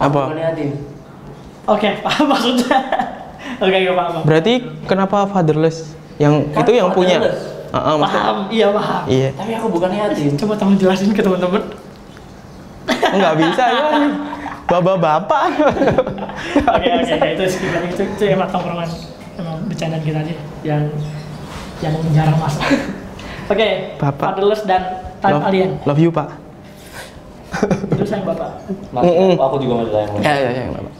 [SPEAKER 2] Apa?
[SPEAKER 3] bukan yatim
[SPEAKER 1] Oke, [laughs] paham maksudnya. Oke, oke, paham. paham.
[SPEAKER 2] Berarti kenapa fatherless? Yang
[SPEAKER 3] Kan
[SPEAKER 2] itu yang punya.
[SPEAKER 3] fatherless.
[SPEAKER 2] Ah, ah, maksudnya-
[SPEAKER 1] Paham, iya paham.
[SPEAKER 2] Iya.
[SPEAKER 3] tapi aku bukan yatim
[SPEAKER 1] Coba tolong jelasin ke teman-teman.
[SPEAKER 2] Enggak bisa ya. Bapak-bapak.
[SPEAKER 1] Oke, oke, oke, itu skip aja. Itu, itu emang tongkrongan. Emang bercandaan kita aja yang yang jarang masuk. Oke,
[SPEAKER 2] Bapak.
[SPEAKER 1] Fatherless dan Time
[SPEAKER 2] love,
[SPEAKER 1] Alien.
[SPEAKER 2] love you, Pak.
[SPEAKER 1] Itu sayang Bapak.
[SPEAKER 3] Masih,
[SPEAKER 2] Mm-mm.
[SPEAKER 3] aku juga masih sayang
[SPEAKER 2] Ya, ya, ya, Bapak.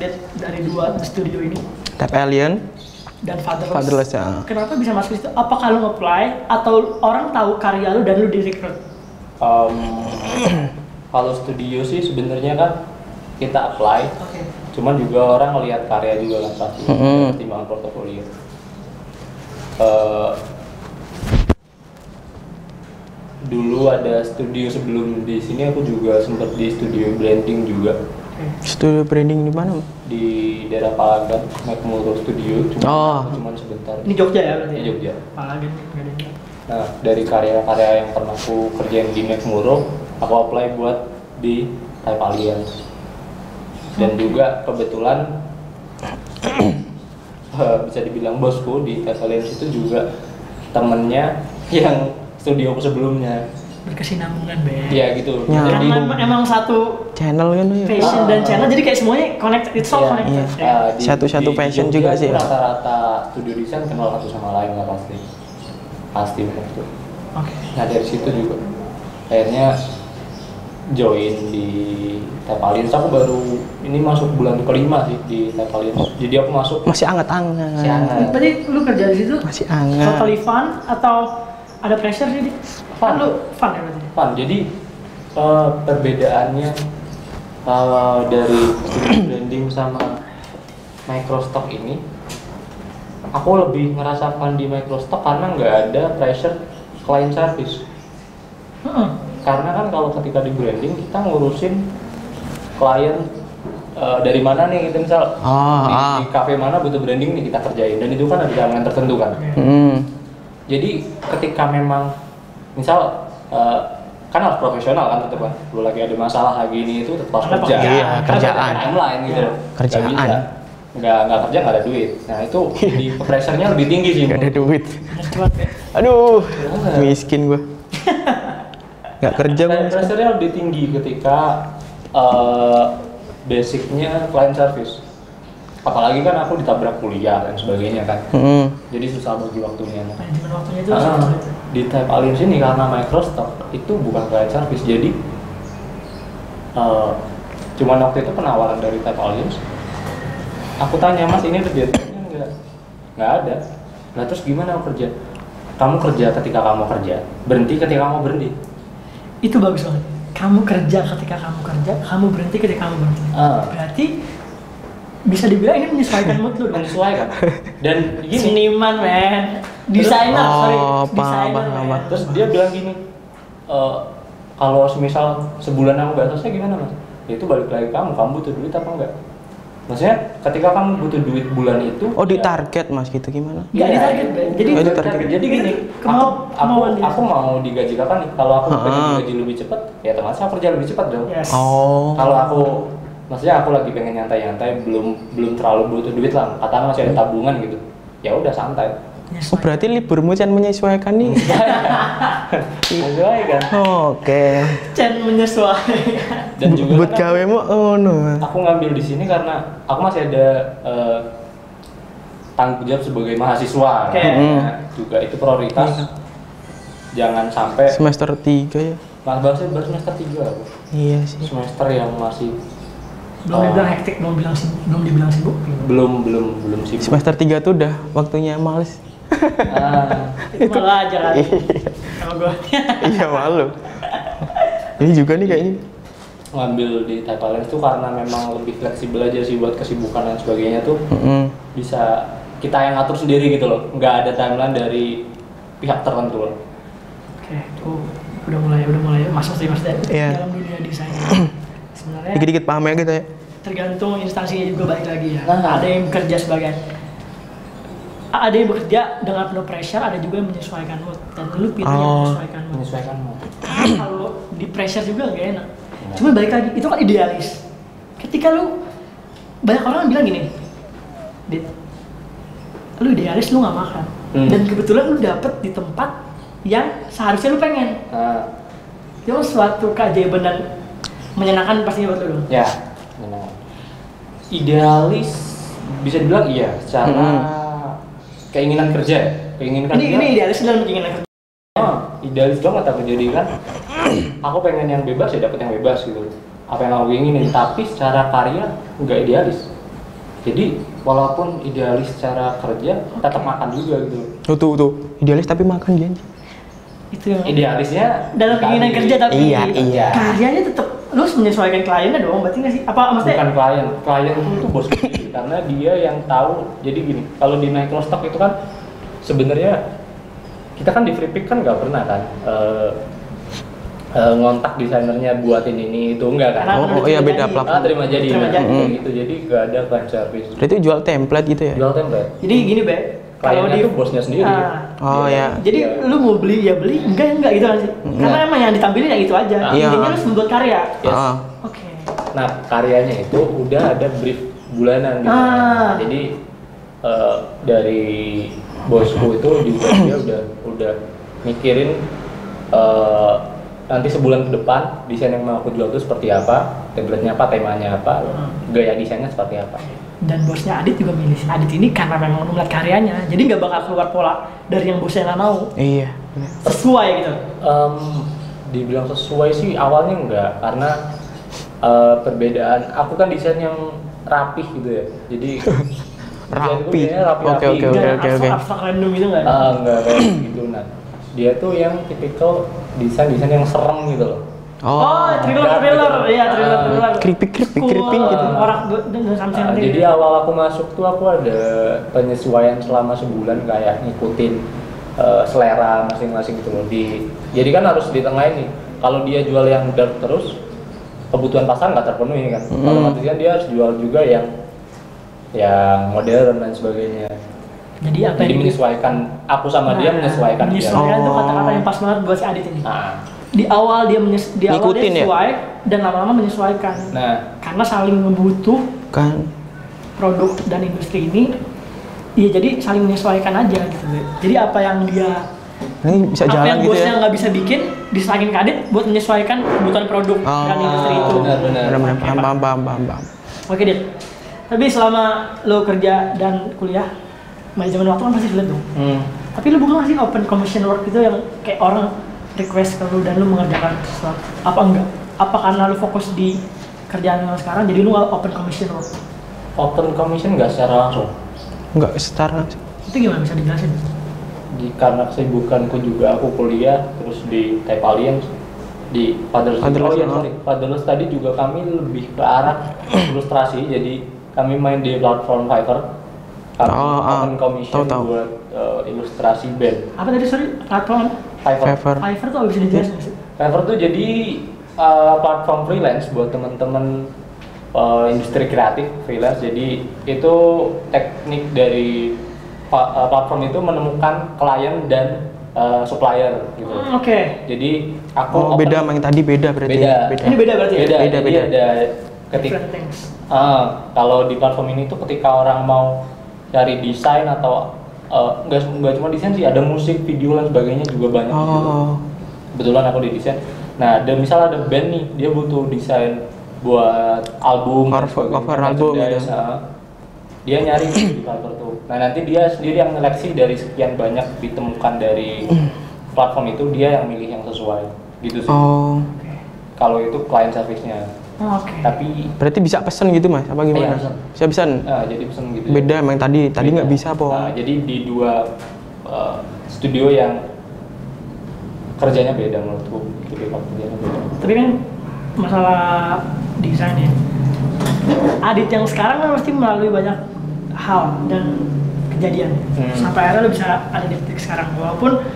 [SPEAKER 1] Dia dari dua studio ini
[SPEAKER 2] Tap alien.
[SPEAKER 1] dan Fatherless.
[SPEAKER 2] Fatherless, ya.
[SPEAKER 1] Kenapa bisa masuk itu? Apakah lu apply atau orang tahu karya lu dan lu direkrut?
[SPEAKER 3] Em, [clears throat] kalau studio sih sebenarnya kan kita apply
[SPEAKER 1] Oke.
[SPEAKER 3] cuman juga orang ngelihat karya juga kan pasti
[SPEAKER 2] Mm-mm.
[SPEAKER 3] pertimbangan portofolio Eh, dulu ada studio sebelum di sini aku juga sempat di studio blending juga
[SPEAKER 1] Oke.
[SPEAKER 2] Studio branding di mana? Bang?
[SPEAKER 3] di daerah Palagan Macmuro Studio cuman
[SPEAKER 2] Oh.
[SPEAKER 3] aku cuman sebentar
[SPEAKER 1] Ini Jogja ya berarti?
[SPEAKER 3] di
[SPEAKER 1] ya?
[SPEAKER 3] Jogja
[SPEAKER 1] Palagan nggak ada yang tahu.
[SPEAKER 3] Nah, dari karya-karya yang pernah aku kerjain di Mekmuro, aku apply buat di Type Alliance. Dan juga kebetulan [coughs] eh, bisa dibilang bosku di Type Alliance itu juga temennya [laughs] yang studio aku sebelumnya.
[SPEAKER 1] berkesinambungan be.
[SPEAKER 3] Iya gitu.
[SPEAKER 2] Ya.
[SPEAKER 1] Karena
[SPEAKER 3] Jadi
[SPEAKER 1] emang, emang satu
[SPEAKER 2] Channel kan ya.
[SPEAKER 1] passion dan channel jadi kayak semuanya connected, it's all
[SPEAKER 3] Iya,
[SPEAKER 1] connected. ya.
[SPEAKER 2] iya.
[SPEAKER 3] eh, di-
[SPEAKER 2] Satu-satu
[SPEAKER 3] di- di
[SPEAKER 2] passion
[SPEAKER 3] Jogja
[SPEAKER 2] juga
[SPEAKER 3] tuh
[SPEAKER 2] sih, ya.
[SPEAKER 3] Rata-rata studio desain kenal satu sama lain lah pasti. Pasti begitu.
[SPEAKER 1] Oke.
[SPEAKER 3] Nah dari situ juga akhirnya join di Tepalin. Aku baru ini masuk bulan kelima sih di Tepalin. Jadi aku masuk
[SPEAKER 2] Masih anget-anget.
[SPEAKER 3] Masih anget.
[SPEAKER 1] Berarti lu kerja di situ
[SPEAKER 2] Masih anget.
[SPEAKER 1] totally fun atau ada pressure jadi? Kan
[SPEAKER 3] Fun.
[SPEAKER 1] lu fun ya berarti.
[SPEAKER 3] Pan. Jadi eh, perbedaannya eh, dari student branding sama microstock ini aku lebih ngerasakan di microstock karena nggak ada pressure client service
[SPEAKER 1] Heeh.
[SPEAKER 3] karena kan kalau ketika di branding kita ngurusin klien eh, dari mana nih kita misal
[SPEAKER 2] Ah,
[SPEAKER 3] di,
[SPEAKER 2] ah.
[SPEAKER 3] di cafe mana butuh branding nih kita kerjain dan itu kan ada timeline tertentu kan
[SPEAKER 2] Hmm.
[SPEAKER 3] jadi ketika memang misal eh, kan harus profesional kan tetap kan lu lagi ada masalah lagi ini itu tetap harus
[SPEAKER 1] Tetap,
[SPEAKER 3] kerja
[SPEAKER 2] iya,
[SPEAKER 3] Kan
[SPEAKER 2] kerjaan.
[SPEAKER 3] ada timeline gitu loh.
[SPEAKER 2] Kerjaan.
[SPEAKER 3] Nggak bisa. nggak nggak kerja nggak ada duit nah
[SPEAKER 2] [laughs]
[SPEAKER 3] itu di pressure-nya lebih tinggi sih
[SPEAKER 2] Gak ada
[SPEAKER 3] menurut
[SPEAKER 2] duit.
[SPEAKER 1] Bener banget ya.
[SPEAKER 2] Aduh,
[SPEAKER 3] Gimana?
[SPEAKER 2] miskin gua. Gak kerja gua.
[SPEAKER 3] Pressure- pressure-nya lebih tinggi ketika eh, basicnya client service apalagi kan aku ditabrak kuliah dan sebagainya kan
[SPEAKER 2] Hmm.
[SPEAKER 3] jadi susah bagi waktunya
[SPEAKER 1] Manajemen waktunya itu
[SPEAKER 3] Ah,
[SPEAKER 1] susah banget.
[SPEAKER 3] di tab alien sini karena Microsoft itu bukan client service jadi eh, cuman waktu itu penawaran dari tab alien aku tanya mas ini ada deadline-nya nggak nggak ada nah terus gimana aku kerja kamu kerja ketika kamu kerja berhenti ketika kamu berhenti
[SPEAKER 1] Itu bagus banget. Kamu kerja ketika kamu kerja, kamu berhenti ketika kamu berhenti.
[SPEAKER 3] Ah.
[SPEAKER 1] Berarti bisa dibilang ini menyesuaikan mood lu dong.
[SPEAKER 3] menyesuaikan dan gini
[SPEAKER 1] Seniman, men. Desainer,
[SPEAKER 2] Terus-
[SPEAKER 1] sorry.
[SPEAKER 2] Oh, paham,
[SPEAKER 1] Desainer,
[SPEAKER 2] paham,
[SPEAKER 1] men.
[SPEAKER 2] paham.
[SPEAKER 3] terus dia bilang gini "Eh, kalau semisal sebulan aku nggak selesai gimana mas ya itu balik lagi ke kamu kamu butuh duit apa enggak maksudnya ketika kamu butuh duit bulan itu
[SPEAKER 2] Oh, di
[SPEAKER 3] ya-
[SPEAKER 2] target Mas gitu gimana?
[SPEAKER 1] Nggak
[SPEAKER 3] Iya,
[SPEAKER 1] ditarget, Ben. Jadi-
[SPEAKER 2] Oh,
[SPEAKER 3] nggak
[SPEAKER 2] ditarget.
[SPEAKER 3] ditarget. jadi gini
[SPEAKER 1] Itu
[SPEAKER 3] aku,
[SPEAKER 1] kemau-
[SPEAKER 3] aku,
[SPEAKER 1] kemauan dia.
[SPEAKER 3] aku mau digaji kapan nih kalau aku
[SPEAKER 2] Ha-ha.
[SPEAKER 3] pengen digaji lebih cepat ya teman saya kerja lebih cepat dong
[SPEAKER 1] Yes.
[SPEAKER 2] Oh.
[SPEAKER 3] kalau aku maksudnya aku lagi pengen nyantai-nyantai belum belum terlalu butuh duit lah katakan masih ada tabungan gitu ya udah santai
[SPEAKER 2] Oh, berarti liburmu jangan menyesuaikan nih. Iya.
[SPEAKER 3] sesuai kan
[SPEAKER 2] Oke.
[SPEAKER 1] Chan menyesuaikan.
[SPEAKER 3] dan juga
[SPEAKER 2] buat
[SPEAKER 3] kan
[SPEAKER 2] gawemu oh no.
[SPEAKER 3] aku ngambil di sini karena aku masih ada eh, tanggung jawab sebagai mahasiswa
[SPEAKER 1] Oke.
[SPEAKER 3] Nah, juga itu prioritas jangan sampai
[SPEAKER 2] Semester 3 ya.
[SPEAKER 3] mas bahasnya baru semester 3 aku
[SPEAKER 2] Iya sih.
[SPEAKER 3] semester yang masih
[SPEAKER 1] belum
[SPEAKER 3] Oh.
[SPEAKER 1] dibilang hektik, belum bilang sibuk, belum dibilang sibuk.
[SPEAKER 3] belum belum belum sibuk
[SPEAKER 2] Semester 3 tuh udah waktunya males.
[SPEAKER 3] Ah,
[SPEAKER 1] Itu malah aja kan. Kalau gua
[SPEAKER 2] iya malu. Ini juga nih kayaknya.
[SPEAKER 3] ngambil di Type Alliance tuh karena memang lebih fleksibel aja sih buat kesibukan dan sebagainya tuh
[SPEAKER 2] Mm-mm.
[SPEAKER 3] bisa kita yang ngatur sendiri gitu loh nggak ada timeline dari pihak tertentu loh
[SPEAKER 1] Oke, tuh udah mulai udah mulai masuk sih mas Dan.
[SPEAKER 2] Iya.
[SPEAKER 1] dalam dunia desain. Sebenarnya
[SPEAKER 2] Dikit-dikit paham ya kita ya.
[SPEAKER 1] tergantung instansinya juga balik lagi ya.
[SPEAKER 3] Nah.
[SPEAKER 1] Ada yang bekerja sebagai A- ada yang bekerja dengan penuh pressure, ada juga yang menyesuaikan mood dan lu pilih yang
[SPEAKER 2] Oh.
[SPEAKER 1] menyesuaikan mood.
[SPEAKER 3] menyesuaikan mau
[SPEAKER 1] Karena [clears throat] kalau di pressure juga gak enak. Cuma balik lagi, itu kan idealis. Ketika lu banyak orang bilang gini, Dit, lu idealis lu nggak makan.
[SPEAKER 3] Hmm.
[SPEAKER 1] Dan kebetulan lu dapet di tempat yang seharusnya lu pengen.
[SPEAKER 3] nah,
[SPEAKER 1] Itu suatu keajaiban dan menyenangkan pastinya buat lu dong.
[SPEAKER 3] Ya, memang. Idealis bisa dibilang iya, secara
[SPEAKER 2] Mm-mm.
[SPEAKER 3] keinginan kerja, ya. keinginan
[SPEAKER 1] Hmm. Ini,
[SPEAKER 3] kerja.
[SPEAKER 1] ini idealis dalam keinginan kerja.
[SPEAKER 3] Ah, idealis banget aku jadi kan. aku pengen yang bebas ya dapat yang bebas gitu. Apa yang aku inginin, tapi secara karya nggak idealis. Jadi walaupun idealis secara kerja, tetap makan juga gitu.
[SPEAKER 2] Oh, tuh tuh idealis tapi makan dia.
[SPEAKER 1] Itu yang
[SPEAKER 3] Idealisnya
[SPEAKER 1] dalam keinginan
[SPEAKER 3] tadi,
[SPEAKER 1] kerja tapi
[SPEAKER 2] Iya, iya.
[SPEAKER 1] karyanya tetap lu harus menyesuaikan kliennya dong, berarti nggak sih? Apa maksudnya?
[SPEAKER 3] bukan klien klien itu tuh bos sendiri, karena dia yang tahu jadi gini kalau di Microstock itu kan sebenarnya kita kan di free pick kan nggak pernah kan eh, eh, ngontak desainernya buatin ini itu enggak
[SPEAKER 1] Karena
[SPEAKER 3] kan
[SPEAKER 2] Oh,
[SPEAKER 1] menurut
[SPEAKER 2] oh, iya,
[SPEAKER 1] lu
[SPEAKER 2] beda
[SPEAKER 1] jadi-
[SPEAKER 2] platform.
[SPEAKER 3] ah, terima jadi
[SPEAKER 1] Terima
[SPEAKER 3] nah,
[SPEAKER 1] jadi.
[SPEAKER 3] kayak gitu jadi nggak ada client service
[SPEAKER 2] Berarti jual template gitu ya.
[SPEAKER 3] jual template
[SPEAKER 1] Jadi gini, Be. Kalau
[SPEAKER 3] kliennya
[SPEAKER 1] di
[SPEAKER 3] tuh bosnya sendiri
[SPEAKER 1] Ah.
[SPEAKER 2] Oh ya.
[SPEAKER 1] Jadi
[SPEAKER 3] Iya.
[SPEAKER 1] lu mau beli ya beli, enggak ya enggak gitu kan sih. Karena emang yang ditampilin ya itu aja.
[SPEAKER 2] Iya.
[SPEAKER 1] Intinya lu harus membuat karya.
[SPEAKER 2] Heeh.
[SPEAKER 1] Oke.
[SPEAKER 3] nah karyanya itu udah ada brief bulanan gitu
[SPEAKER 1] Ah.
[SPEAKER 3] jadi eh, dari bosku itu juga
[SPEAKER 2] [clears throat]
[SPEAKER 3] dia udah udah mikirin eh, nanti sebulan ke depan desain yang mau aku jual itu seperti apa template-nya apa temanya apa
[SPEAKER 2] Hmm.
[SPEAKER 3] gaya desainnya seperti apa
[SPEAKER 1] Dan bosnya Adit juga milih si Adit ini karena memang lu melihat karyanya. Jadi nggak bakal keluar pola dari yang bosnya nggak mau.
[SPEAKER 2] Iya. bener.
[SPEAKER 1] Sesuai gitu.
[SPEAKER 3] Em, dibilang sesuai sih awalnya enggak karena eh, perbedaan aku kan desain yang rapih gitu ya jadi
[SPEAKER 2] [laughs] Rapi.
[SPEAKER 3] rapi
[SPEAKER 2] Oke, oke, oke,
[SPEAKER 1] Jangan
[SPEAKER 2] oke, oke.
[SPEAKER 1] abstrak abstrak random gitu nggak.
[SPEAKER 3] Ah,
[SPEAKER 1] [clears throat]
[SPEAKER 3] enggak kayak gitu nah dia tuh yang tipikal desain desain yang serem gitu loh
[SPEAKER 2] Oh.
[SPEAKER 1] thriller,
[SPEAKER 3] Dark
[SPEAKER 1] thriller,
[SPEAKER 3] gitu.
[SPEAKER 1] iya thriller,
[SPEAKER 3] Ah,
[SPEAKER 1] thriller.
[SPEAKER 2] creepy, creepy,
[SPEAKER 1] Cool,
[SPEAKER 2] creepy gitu.
[SPEAKER 1] Orang be- dengan something
[SPEAKER 3] Nah,
[SPEAKER 1] gitu.
[SPEAKER 3] jadi awal aku masuk tuh aku ada penyesuaian selama sebulan kayak ngikutin eh, selera masing-masing gitu loh. Di, jadi kan harus ditengahin nih. Kalau dia jual yang dark terus, kebutuhan pasar nggak terpenuhi kan.
[SPEAKER 2] Hmm.
[SPEAKER 3] Kalau mati kan dia harus jual juga yang yang modern dan sebagainya.
[SPEAKER 1] Jadi apa
[SPEAKER 3] Jadi
[SPEAKER 1] yang-
[SPEAKER 3] menyesuaikan aku sama dia
[SPEAKER 1] Nah,
[SPEAKER 3] menyesuaikan dia.
[SPEAKER 1] Menyesuaikan itu
[SPEAKER 2] Oh.
[SPEAKER 1] kata-kata yang pas banget buat si Adit ini.
[SPEAKER 3] Nah,
[SPEAKER 1] Di awal dia menyes- di awal dia
[SPEAKER 2] Ngikutin ya?
[SPEAKER 1] sesuai dan lama-lama menyesuaikan.
[SPEAKER 3] nah
[SPEAKER 1] Karena saling butuh
[SPEAKER 2] Kan.
[SPEAKER 1] produk dan industri ini ya jadi saling menyesuaikan aja gitu jadi apa yang dia
[SPEAKER 2] Ini bisa
[SPEAKER 1] apa
[SPEAKER 2] jalan
[SPEAKER 1] yang
[SPEAKER 2] gitu
[SPEAKER 1] bosnya
[SPEAKER 2] ya.
[SPEAKER 1] nggak bisa bikin diserangin kadit buat menyesuaikan kebutuhan produk
[SPEAKER 2] Ah,
[SPEAKER 1] dan industri itu
[SPEAKER 3] benar-benar.
[SPEAKER 2] Benar-benar paham, paham, paham, paham, paham.
[SPEAKER 1] oke dit tapi selama lo kerja dan kuliah manajemen waktu kan pasti relate dong
[SPEAKER 3] hmm.
[SPEAKER 1] tapi lo bukan sih open commission work itu yang kayak orang request ke lo dan lo mengerjakan sesuatu apa enggak apa karena lo fokus di kerjaan lo sekarang jadi lo nggak open commission work
[SPEAKER 3] open commission nggak secara langsung.
[SPEAKER 2] Enggak setara. sih.
[SPEAKER 1] itu gimana bisa dijelasin
[SPEAKER 3] di karena kesibukanku juga aku kuliah terus di Type Alliance di Father
[SPEAKER 2] Fatherless
[SPEAKER 3] oh iya
[SPEAKER 2] Alliance.
[SPEAKER 3] sorry Fatherless tadi juga kami lebih ke arah [clears throat] ilustrasi jadi kami main di platform Fiverr kami
[SPEAKER 2] Oh, ah,
[SPEAKER 3] open commission
[SPEAKER 2] tahu, tahu.
[SPEAKER 3] buat eh, ilustrasi band
[SPEAKER 1] apa tadi sorry platform
[SPEAKER 3] Fiverr
[SPEAKER 2] Favor.
[SPEAKER 1] Fiverr tuh bisa dijelasin nggak sih
[SPEAKER 3] Fiverr tuh jadi eh, platform freelance buat teman-teman eh, industri kreatif freelance. Jadi itu teknik dari pa- eh, platform itu menemukan klien dan eh, supplier gitu.
[SPEAKER 1] Hmm, Oke.
[SPEAKER 3] Jadi aku
[SPEAKER 2] Oh,
[SPEAKER 3] open-
[SPEAKER 2] beda sama yang tadi beda berarti.
[SPEAKER 3] Beda.
[SPEAKER 2] ya?
[SPEAKER 1] Ini beda berarti ya?
[SPEAKER 3] beda,
[SPEAKER 2] Beda,
[SPEAKER 3] Jadi
[SPEAKER 2] beda.
[SPEAKER 3] ada ketik
[SPEAKER 1] Different things.
[SPEAKER 3] Ah, kalau di platform ini tuh ketika orang mau cari desain atau eh, nggak nggak cuma desain sih ada musik video dan sebagainya juga banyak di situ
[SPEAKER 2] Oh.
[SPEAKER 3] kebetulan aku di desain nah ada misal ada band nih dia butuh desain buat album
[SPEAKER 2] Cover-
[SPEAKER 3] sebagainya,
[SPEAKER 2] cover album
[SPEAKER 3] merchandise,
[SPEAKER 2] gitu.
[SPEAKER 3] ah. dia nyari di [coughs] cover tuh nah nanti dia sendiri yang seleksi dari sekian banyak ditemukan
[SPEAKER 2] [coughs]
[SPEAKER 3] dari platform itu dia yang milih yang sesuai gitu sih
[SPEAKER 2] Oh.
[SPEAKER 3] kalau itu client service-nya
[SPEAKER 1] Oh, Oke.
[SPEAKER 3] tapi
[SPEAKER 2] Berarti bisa pesan gitu, Mas? Apa gimana?
[SPEAKER 3] Iya, pesan.
[SPEAKER 2] Bisa pesan.
[SPEAKER 3] ah, jadi pesen gitu
[SPEAKER 2] Beda sama yang tadi. Tadi nggak
[SPEAKER 3] Beda.
[SPEAKER 2] bisa, Po.
[SPEAKER 3] Nah, jadi di dua eh, studio yang kerjanya beda menurutku gitu deh, kerjanya beda
[SPEAKER 1] Tapi kan masalah desain ya. Adit yang sekarang kan pasti melalui banyak hal dan kejadian.
[SPEAKER 3] Hmm.
[SPEAKER 1] Sampai akhirnya lo bisa ada di titik sekarang walaupun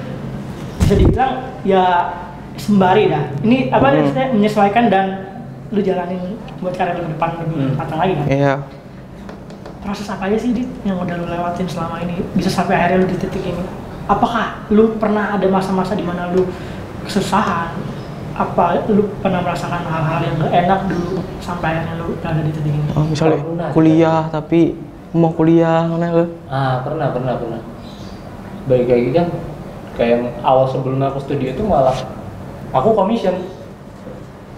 [SPEAKER 1] bisa dibilang ya sembari dah. Ini apa
[SPEAKER 2] Hmm.
[SPEAKER 1] maksudnya menyesuaikan dan lu jalanin buat karir lu ke depan lebih
[SPEAKER 3] Hmm.
[SPEAKER 1] matang lagi kan.
[SPEAKER 2] Iya.
[SPEAKER 1] proses apa aja sih Dit yang udah lu lewatin selama ini bisa sampai akhirnya lu di titik ini apakah lu pernah ada masa-masa di mana lu kesusahan apa lu pernah merasakan hal-hal yang gak enak dulu sampai akhirnya lu berada di titik ini
[SPEAKER 2] Oh, misalnya
[SPEAKER 3] Pernah.
[SPEAKER 2] kuliah tapi mau kuliah mana lo?
[SPEAKER 3] Ah, pernah, pernah, pernah. Baik lagi kan, kayak yang awal sebelum aku studio itu malah aku commission.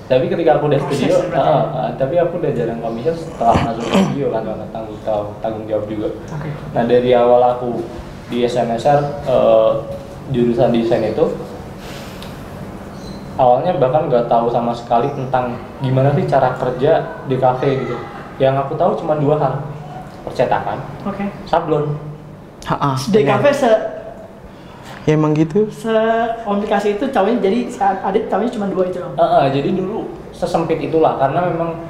[SPEAKER 3] Tapi ketika aku udah
[SPEAKER 1] Proses
[SPEAKER 3] studio,
[SPEAKER 1] berarti. ya?
[SPEAKER 3] ah, ah, tapi aku udah jarang commission setelah masuk studio kan, karena tanggung, tanggung, tanggung jawab juga.
[SPEAKER 1] oke
[SPEAKER 3] Nah dari awal aku di SMSR eh, jurusan desain itu awalnya bahkan nggak tahu sama sekali tentang gimana sih cara kerja di kafe gitu. Yang aku tahu cuma dua hal, percetakan,
[SPEAKER 1] oke
[SPEAKER 3] sablon.
[SPEAKER 2] Ha-ha.
[SPEAKER 1] DKV se
[SPEAKER 2] Ya emang gitu.
[SPEAKER 1] se komplikasi itu cowoknya jadi si Adit cowoknya cuma dua itu dong
[SPEAKER 3] Ah, ah, jadi dulu sesempit itulah karena memang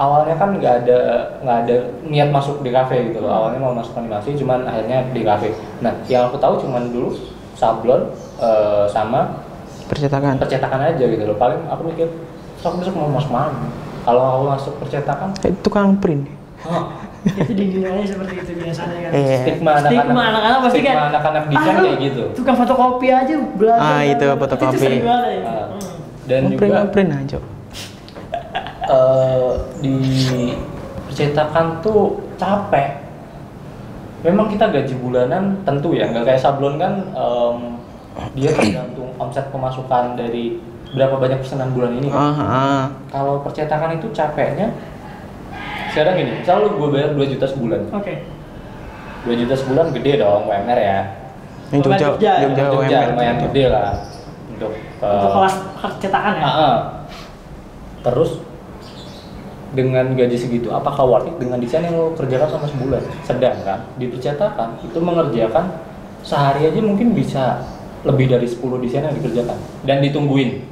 [SPEAKER 3] awalnya kan nggak ada nggak ada niat masuk di kafe gitu loh. Awalnya mau masuk animasi, cuman akhirnya di kafe. Nah, yang aku tahu cuman dulu sablon eh, sama
[SPEAKER 2] Percetakan.
[SPEAKER 3] percetakan aja gitu loh. Paling aku mikir, "Terus aku besok mau masuk mana? Kalau aku masuk percetakan,
[SPEAKER 2] Eh, tukang print.
[SPEAKER 3] ah,
[SPEAKER 1] itu dinilainya seperti itu biasanya kan
[SPEAKER 2] Iya.
[SPEAKER 3] stigma anak-anak
[SPEAKER 1] Stigma anak-anak pasti
[SPEAKER 3] stigma
[SPEAKER 1] kan,
[SPEAKER 3] anak-anak
[SPEAKER 1] ah,
[SPEAKER 3] desain
[SPEAKER 1] lu
[SPEAKER 3] kayak gitu.
[SPEAKER 1] tukang fotokopi aja belajar
[SPEAKER 2] Ah, itu fotokopi.
[SPEAKER 1] itu sering banget ya.
[SPEAKER 3] Ah.
[SPEAKER 1] Hmm.
[SPEAKER 3] Dan
[SPEAKER 2] Ngeprint
[SPEAKER 3] juga Iya.
[SPEAKER 2] ngeprint aja.
[SPEAKER 3] eh, di percetakan tuh capek. Memang kita gaji bulanan tentu ya, nggak kayak sablon kan em, dia tergantung omset pemasukan dari berapa banyak pesanan bulan ini. kan.
[SPEAKER 2] Ah, ah.
[SPEAKER 3] Kalau percetakan itu capeknya sekarang gini, misal lu gue bayar 2 juta sebulan.
[SPEAKER 1] oke
[SPEAKER 3] 2 juta sebulan gede dong UMR ya.
[SPEAKER 2] Yang
[SPEAKER 1] Bukan
[SPEAKER 2] Jogja,
[SPEAKER 1] Jogja,
[SPEAKER 2] Jogja,
[SPEAKER 3] Untuk Jogja
[SPEAKER 2] UMR.
[SPEAKER 3] lumayan gede lah untuk
[SPEAKER 1] untuk
[SPEAKER 3] eh,
[SPEAKER 1] kelas percetakan ya.
[SPEAKER 3] Ah, ah. Terus dengan gaji segitu apakah worth it dengan desain yang lo kerjakan sama sebulan? Sedangkan di percetakan itu mengerjakan sehari aja mungkin bisa lebih dari 10 desain yang dikerjakan dan ditungguin.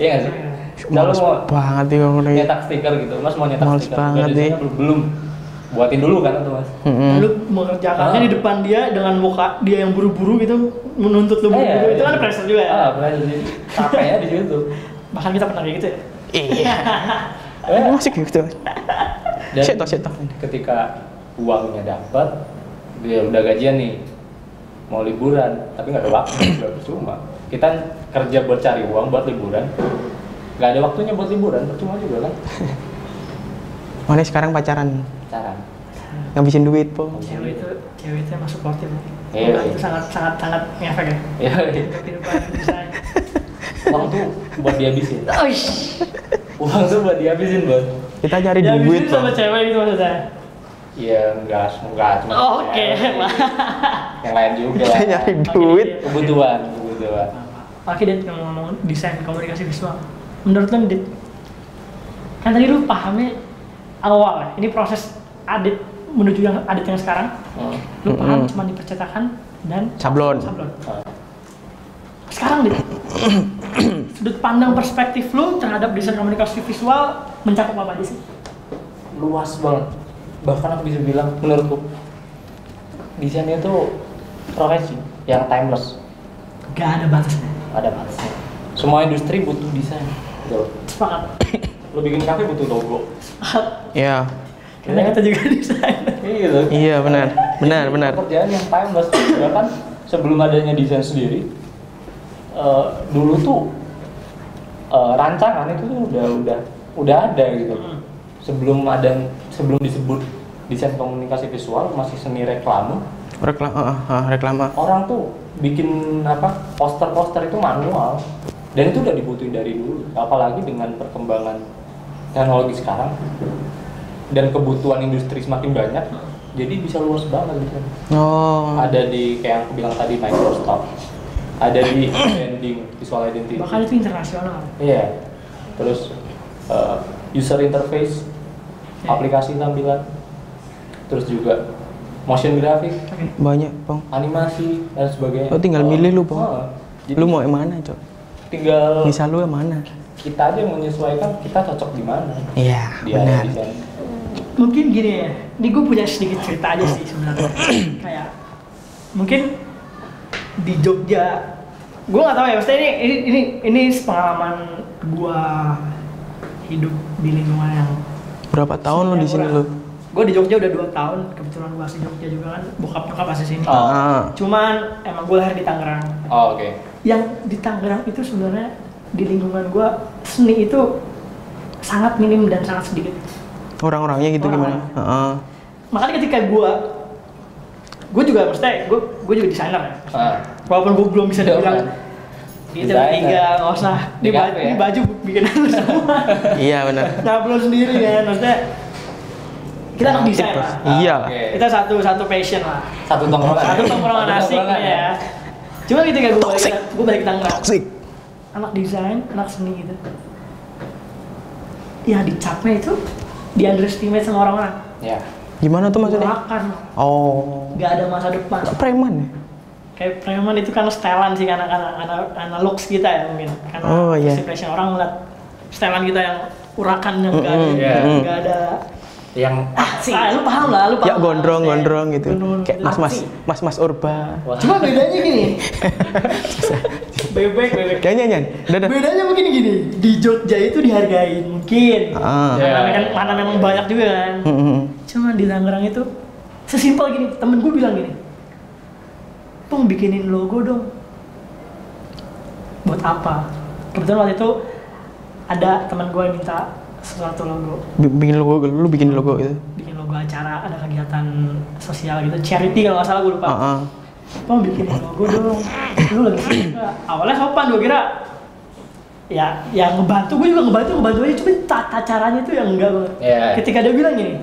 [SPEAKER 3] Iya nggak sih? Nah, lu
[SPEAKER 2] Males
[SPEAKER 3] mau
[SPEAKER 2] banget nih kalau kayak
[SPEAKER 3] nyetak stiker gitu, mas mau nyetak
[SPEAKER 2] Males
[SPEAKER 3] stiker.
[SPEAKER 2] banget
[SPEAKER 3] Dari sana
[SPEAKER 2] deh.
[SPEAKER 3] belum- Belum. Buatin dulu kan tuh mas.
[SPEAKER 2] Mm-mm.
[SPEAKER 1] lu mengerjakannya
[SPEAKER 3] Ah.
[SPEAKER 1] di depan dia dengan muka dia yang buru-buru gitu menuntut lu
[SPEAKER 3] Eh,
[SPEAKER 1] buru-buru
[SPEAKER 3] iya,
[SPEAKER 1] itu
[SPEAKER 3] iya.
[SPEAKER 1] kan pressure juga ya
[SPEAKER 3] Ah, pressure jadi capek ya di
[SPEAKER 1] [laughs]
[SPEAKER 3] situ.
[SPEAKER 1] bahkan kita pernah kayak gitu ya
[SPEAKER 2] Iya.
[SPEAKER 3] Eh,
[SPEAKER 2] Emang masih kayak gitu.
[SPEAKER 3] dan
[SPEAKER 2] Shit, toh, shit, toh.
[SPEAKER 3] ketika uangnya dapat, dia udah gajian nih, mau liburan, tapi nggak ada waktu, nggak percuma. Kita kerja buat cari uang buat liburan, nggak ada waktunya buat liburan, percuma juga kan?
[SPEAKER 2] Makanya sekarang pacaran
[SPEAKER 3] Cara.
[SPEAKER 1] Hmm.
[SPEAKER 2] ngabisin duit, po.
[SPEAKER 1] cewek itu cewek itu masuk sportif
[SPEAKER 3] Iya,
[SPEAKER 1] Nah,
[SPEAKER 3] iya.
[SPEAKER 1] itu sangat sangat sangat ngefek ya
[SPEAKER 3] Ya,
[SPEAKER 1] kehidupan misalnya
[SPEAKER 3] uang tuh buat dihabisin.
[SPEAKER 1] oh
[SPEAKER 3] Uang tuh buat dihabisin, bos.
[SPEAKER 2] Kita cari
[SPEAKER 1] ya
[SPEAKER 2] duit,
[SPEAKER 1] gitu
[SPEAKER 2] po.
[SPEAKER 1] sama cewek gitu maksud saya
[SPEAKER 3] Iya, enggak, enggak cuma.
[SPEAKER 1] oke
[SPEAKER 3] Yang lain
[SPEAKER 2] [laughs]
[SPEAKER 3] juga.
[SPEAKER 2] Kita
[SPEAKER 3] lah.
[SPEAKER 2] cari duit.
[SPEAKER 3] Kebutuhan, kebutuhan.
[SPEAKER 1] Oke, Dit, kalau ngomong desain komunikasi visual. Menurut lu, Dit, kan tadi lu pahamnya awal ya, ini proses adit menuju yang adit yang sekarang,
[SPEAKER 3] Hmm.
[SPEAKER 1] lu paham
[SPEAKER 2] Mm-mm.
[SPEAKER 1] cuma di percetakan dan
[SPEAKER 2] Sablon.
[SPEAKER 1] sablon.
[SPEAKER 3] Ah.
[SPEAKER 1] Sekarang,
[SPEAKER 3] [coughs]
[SPEAKER 1] Dit, sudut pandang perspektif lu terhadap desain komunikasi visual mencakup apa aja sih?
[SPEAKER 3] luas banget bahkan aku bisa bilang menurutku desainnya tuh profesi yang timeless
[SPEAKER 1] Gak ada batasnya.
[SPEAKER 3] nggak ada batasnya semua industri butuh desain Betul. [coughs]
[SPEAKER 1] Sepakat.
[SPEAKER 3] lo bikin kafe butuh logo
[SPEAKER 2] Iya.
[SPEAKER 1] Karena kita juga desainer.
[SPEAKER 3] iya gitu
[SPEAKER 2] Iya, benar. Benar, benar.
[SPEAKER 3] Nah, pekerjaan yang timeless bahkan sebelum adanya desain sendiri eh, dulu tuh eh, rancangan itu tuh udah udah udah ada gitu
[SPEAKER 1] Hmm.
[SPEAKER 3] sebelum ada sebelum disebut desain komunikasi visual masih seni reklame
[SPEAKER 2] Reklam, ah, ah, reklama.
[SPEAKER 3] orang tuh bikin apa poster-poster itu manual dan itu udah dibutuhin dari dulu apalagi dengan perkembangan teknologi sekarang dan kebutuhan industri semakin banyak jadi bisa luas banget gitu.
[SPEAKER 2] Oh.
[SPEAKER 3] ada di kayak yang aku bilang tadi Microsoft ada di branding visual identity
[SPEAKER 1] Bahkan itu internasional.
[SPEAKER 3] iya terus uh, user interface
[SPEAKER 1] Oke.
[SPEAKER 3] aplikasi tampilan terus juga motion graphic
[SPEAKER 1] Oke.
[SPEAKER 2] Banyak, Pong.
[SPEAKER 3] animasi dan sebagainya.
[SPEAKER 2] Oh, tinggal milih lu, Pong.
[SPEAKER 3] Oh, jadi
[SPEAKER 2] Lu
[SPEAKER 3] Oh.
[SPEAKER 2] mau yang mana, Cok?
[SPEAKER 3] tinggal
[SPEAKER 2] Misal lu yang mana?
[SPEAKER 3] kita aja yang menyesuaikan kita cocok di mana.
[SPEAKER 2] Iya,
[SPEAKER 3] Dia
[SPEAKER 2] benar.
[SPEAKER 3] di sana.
[SPEAKER 1] mungkin gini ya ini gue punya sedikit cerita aja sih
[SPEAKER 2] Oh. [clears throat]
[SPEAKER 1] sebenarnya kayak mungkin di Jogja gue nggak tahu ya maksudnya ini ini ini ini pengalaman gue hidup di lingkungan yang
[SPEAKER 2] Berapa tahun lu di sini lu?
[SPEAKER 1] gue di Jogja udah dua tahun kebetulan gue asli Jogja juga kan bokap nyokap asli sini
[SPEAKER 3] Oh.
[SPEAKER 2] Ah.
[SPEAKER 1] cuman emang gue lahir di Tangerang
[SPEAKER 3] Oh, oke.
[SPEAKER 1] yang di Tangerang itu sebenarnya di lingkungan gue seni itu sangat minim dan sangat sedikit
[SPEAKER 2] Orang-orangnya gitu gimana?
[SPEAKER 1] Orang-orang.
[SPEAKER 2] Heeh.
[SPEAKER 1] makanya ketika gue gue juga maksudnya gue gue juga desainer ya
[SPEAKER 3] Ah,
[SPEAKER 1] walaupun gue belum bisa
[SPEAKER 3] Iya,
[SPEAKER 1] dibilang
[SPEAKER 3] kan?
[SPEAKER 1] gitu tiga nggak usah di,
[SPEAKER 3] Di
[SPEAKER 1] ba-
[SPEAKER 3] kafe ya?
[SPEAKER 1] di baju bikinan lu
[SPEAKER 3] [laughs]
[SPEAKER 1] semua
[SPEAKER 2] Iya, benar.
[SPEAKER 1] nyablon sendiri kan maksudnya kita anak
[SPEAKER 2] Kreatif,
[SPEAKER 1] desain
[SPEAKER 2] Bos.
[SPEAKER 1] lah
[SPEAKER 2] Iya.
[SPEAKER 3] Oke.
[SPEAKER 1] kita satu satu passion lah
[SPEAKER 3] Satu tongkrongan. ya?
[SPEAKER 1] satu tongkrongan
[SPEAKER 3] Satu
[SPEAKER 1] asik
[SPEAKER 3] tongkrongan,
[SPEAKER 1] nih ya cuma ketika gue balik
[SPEAKER 2] Toxic.
[SPEAKER 1] gue balik ke Tangerang
[SPEAKER 2] Toxic.
[SPEAKER 1] anak desain anak seni gitu yang dicapnya itu di underestimate sama orang-orang
[SPEAKER 3] Ya.
[SPEAKER 2] Gimana tuh maksudnya?
[SPEAKER 1] makan
[SPEAKER 2] Oh.
[SPEAKER 1] nggak ada masa depan
[SPEAKER 2] Kok preman ya?
[SPEAKER 1] kayak preman itu karena setelan sih karena karena karena, karena looks kita ya mungkin karena
[SPEAKER 2] Oh, iya.
[SPEAKER 1] first impression orang ngeliat setelan kita yang urakan yang nggak ada
[SPEAKER 2] Mm-mm,
[SPEAKER 1] nggak
[SPEAKER 3] mm-mm.
[SPEAKER 1] ada
[SPEAKER 3] Yang
[SPEAKER 1] ah, lu paham lah lu paham lah,
[SPEAKER 2] Ya
[SPEAKER 1] maksudnya.
[SPEAKER 2] gondrong-gondrong gitu.
[SPEAKER 1] Gondrong-gondrong
[SPEAKER 2] Kayak
[SPEAKER 1] gitu.
[SPEAKER 2] mas-mas,
[SPEAKER 1] Aksi.
[SPEAKER 2] mas-mas urba.
[SPEAKER 3] Wah,
[SPEAKER 1] cuma bedanya gini bebek bebek
[SPEAKER 2] Jangan, jangan. Dadah.
[SPEAKER 1] bedanya mungkin gini di Jogja itu dihargain mungkin
[SPEAKER 2] Ah.
[SPEAKER 1] karena,
[SPEAKER 3] Ya.
[SPEAKER 1] kan- karena memang banyak juga kan
[SPEAKER 2] Heeh.
[SPEAKER 1] cuma di Tangerang itu sesimpel gini temen gue bilang gini Pung bikinin logo dong buat apa kebetulan waktu itu ada teman gue yang minta sesuatu logo
[SPEAKER 2] Bi- Bikin logo, lu bikin logo gitu.
[SPEAKER 1] bikin logo acara ada kegiatan sosial gitu charity kalau nggak salah gue lupa
[SPEAKER 2] Heeh.
[SPEAKER 1] Pung bikinin logo dong lu lagi sibuk nggak?" awalnya sopan gue kira ya yang ngebantu gue juga ngebantu ngebantu aja cuma tata caranya itu yang enggak banget
[SPEAKER 3] Iya.
[SPEAKER 1] ketika dia bilang gini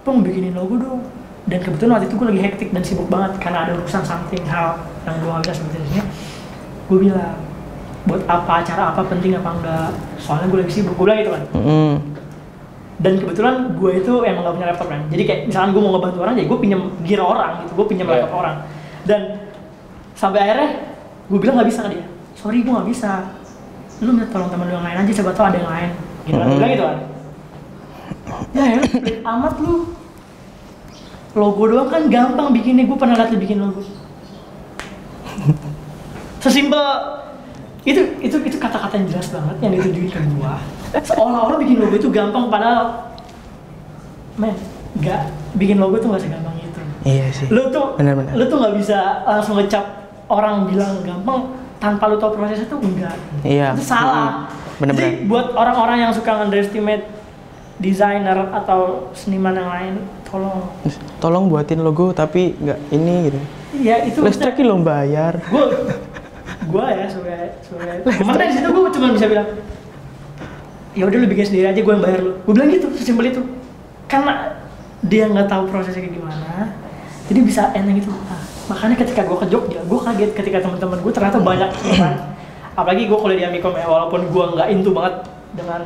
[SPEAKER 1] Pong bikinin logo dong dan kebetulan waktu itu gue lagi hektik dan sibuk banget karena ada urusan something hal yang gue gak bisa sebutin di sini gue bilang buat apa acara apa penting apa enggak soalnya gue lagi sibuk gue bilang gitu kan
[SPEAKER 2] Heeh.
[SPEAKER 1] dan kebetulan gue itu emang gak punya laptop kan jadi kayak misalkan gue mau ngebantu orang jadi gue pinjam gear orang gitu gue pinjam
[SPEAKER 3] Iya.
[SPEAKER 1] laptop orang dan sampai akhirnya gue bilang nggak bisa ke dia sorry gue nggak bisa lu minta tolong teman lu yang lain aja coba tau ada yang lain gitu kan
[SPEAKER 2] Mhm.
[SPEAKER 1] bilang gitu kan ya ya pelit amat lu logo doang kan gampang bikinnya gue pernah liat lu bikin logo sesimpel itu itu itu kata-kata yang jelas banget yang ditujuin ke gua seolah-olah bikin logo itu gampang padahal men nggak bikin logo tuh nggak segampang itu
[SPEAKER 2] Iya sih.
[SPEAKER 1] lu tuh
[SPEAKER 2] Benar-benar.
[SPEAKER 1] lu tuh nggak bisa eh, langsung ngecap orang bilang gampang tanpa lu tahu prosesnya tuh enggak
[SPEAKER 2] Iya.
[SPEAKER 1] itu salah
[SPEAKER 2] Mm, benar-benar.
[SPEAKER 1] Jadi, buat orang-orang yang suka underestimate desainer atau seniman yang lain tolong
[SPEAKER 2] Tolong buatin logo tapi nggak ini gitu.
[SPEAKER 1] ya itu
[SPEAKER 2] Listriknya lo bayar.
[SPEAKER 1] gue gue ya sebagai sebagai makanya di situ gue cuma bisa bilang ya udah lu bikin sendiri aja gue yang bayar lu gue bilang gitu sesimpel itu karena dia nggak tahu prosesnya kayak gimana jadi bisa enak gitu Nah, makanya ketika gue ke Jogja gue kaget ketika teman-teman gue ternyata banyak teman apalagi gue kuliah di Amikom ya walaupun gue nggak into banget dengan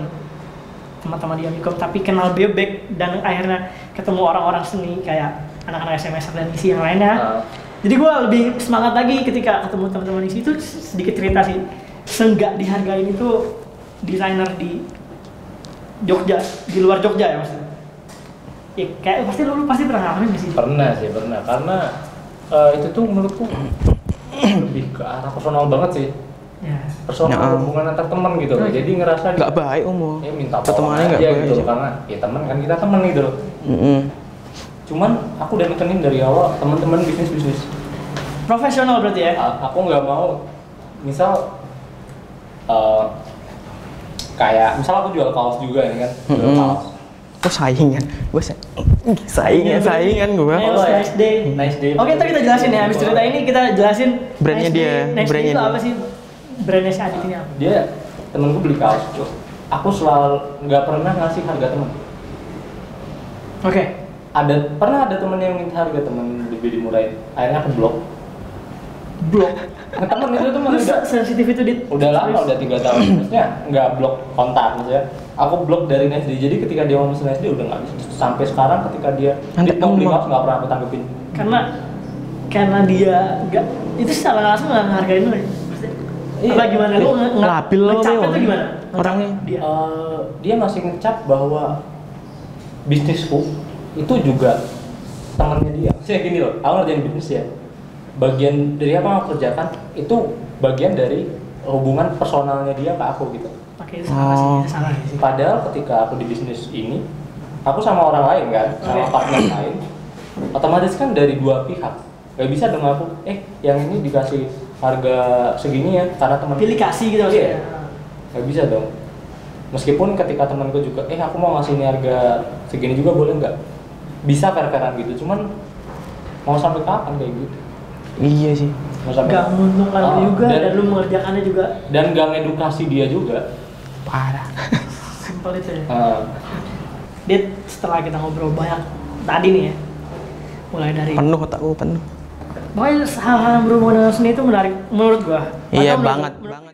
[SPEAKER 1] teman-teman di Amikom tapi kenal bebek dan akhirnya ketemu orang-orang seni kayak anak-anak SMS dan isi yang lainnya
[SPEAKER 3] Ah.
[SPEAKER 1] jadi gue lebih semangat lagi ketika ketemu teman-teman di situ sedikit cerita sih senggak dihargain itu desainer di Jogja di luar Jogja ya maksudnya ya kayak pasti lu, lu pasti pernah ngalamin di sini
[SPEAKER 3] pernah sih pernah karena eh, itu tuh menurutku lebih ke arah personal banget sih
[SPEAKER 1] ya
[SPEAKER 3] personal
[SPEAKER 2] Ya.
[SPEAKER 3] hubungan antar teman gitu loh jadi ngerasa
[SPEAKER 2] Nggak baik umur.
[SPEAKER 3] ya minta tolong
[SPEAKER 2] Pertemanannya
[SPEAKER 3] aja
[SPEAKER 2] nggak baik.
[SPEAKER 3] gitu loh karena ya teman kan kita teman gitu loh
[SPEAKER 2] Mm-mm.
[SPEAKER 3] cuman aku udah nekenin dari awal teman-teman bisnis bisnis
[SPEAKER 1] profesional berarti ya
[SPEAKER 3] A- aku nggak mau misal eh, kayak misal aku jual kaos juga ini kan jual
[SPEAKER 2] Mm-mm.
[SPEAKER 3] kaos
[SPEAKER 2] Kok saingan? Gue sa-
[SPEAKER 1] Iya,
[SPEAKER 2] saingan, saingan gue.
[SPEAKER 1] Nails
[SPEAKER 3] Oh, ya.
[SPEAKER 1] Nice Day.
[SPEAKER 3] Nice Day.
[SPEAKER 1] Oke, ntar kita jelasin ya. Habis cerita ini kita jelasin
[SPEAKER 2] Brandnya
[SPEAKER 1] Nice Day- Nice
[SPEAKER 2] dia,
[SPEAKER 1] Day
[SPEAKER 2] brandnya
[SPEAKER 1] itu
[SPEAKER 2] dia.
[SPEAKER 1] apa sih? Brandnya si Adit ini apa?
[SPEAKER 3] dia temenku beli kaos Cuk. aku selalu nggak pernah ngasih harga temen
[SPEAKER 1] Oke.
[SPEAKER 3] ada pernah ada temen yang minta harga temen lebih dimurahin akhirnya aku blok
[SPEAKER 1] Blok.
[SPEAKER 3] Nah, temen itu temen
[SPEAKER 1] Lu
[SPEAKER 3] udah,
[SPEAKER 1] se- sensitif itu dit.
[SPEAKER 3] udah lama udah tiga tahun maksudnya nggak blok kontak maksudnya aku blok dari next day jadi ketika dia ngomong next day udah nggak bisa sampai sekarang ketika dia
[SPEAKER 2] Nanti
[SPEAKER 3] dia mau beli
[SPEAKER 2] ngomong.
[SPEAKER 3] kaos nggak pernah aku tanggepin
[SPEAKER 1] karena karena dia nggak itu secara langsung nggak ngehargain lo ya Maksudnya,
[SPEAKER 3] Iya.
[SPEAKER 1] apa gimana lu nge nge
[SPEAKER 2] Labil lo,
[SPEAKER 1] ngecapnya
[SPEAKER 2] Beo.
[SPEAKER 1] tuh gimana Ngecap
[SPEAKER 2] Orangnya.
[SPEAKER 1] dia
[SPEAKER 3] Eh, dia masih ngecap bahwa bisnisku itu juga temannya dia. Saya gini loh, aku ngerjain bisnis ya. Bagian dari apa yang aku kerjakan itu bagian dari hubungan personalnya dia ke aku gitu.
[SPEAKER 1] pakai itu salah sih
[SPEAKER 2] Oh.
[SPEAKER 1] itu salah sih
[SPEAKER 3] Padahal ketika aku di bisnis ini, aku sama orang lain kan, sama
[SPEAKER 1] Oke.
[SPEAKER 3] partner lain, otomatis kan dari dua pihak. Gak bisa dong aku, eh yang ini dikasih harga segini ya karena teman
[SPEAKER 1] pilih kasih gitu maksudnya
[SPEAKER 3] Iya. nggak bisa dong meskipun ketika temanku juga eh aku mau ngasih ini harga segini juga boleh nggak bisa fair-fairan gitu cuman mau sampai kapan kayak gitu
[SPEAKER 2] Iya sih.
[SPEAKER 3] mau sampai
[SPEAKER 1] nggak menguntungkan lu
[SPEAKER 3] Oh,
[SPEAKER 1] juga dan,
[SPEAKER 3] dan-
[SPEAKER 1] lu mengerjakannya juga
[SPEAKER 3] dan gak ngedukasi dia juga
[SPEAKER 2] Parah.
[SPEAKER 1] simpel itu ya
[SPEAKER 3] Eh,
[SPEAKER 1] dit setelah kita ngobrol banyak tadi nih ya mulai dari
[SPEAKER 2] Penuh otakku penuh.
[SPEAKER 1] pokoknya hal-hal yang berhubungan dengan seni itu menarik menurut gua
[SPEAKER 2] Iya
[SPEAKER 1] Atau menurut-
[SPEAKER 2] banget,
[SPEAKER 1] menurut-
[SPEAKER 2] banget.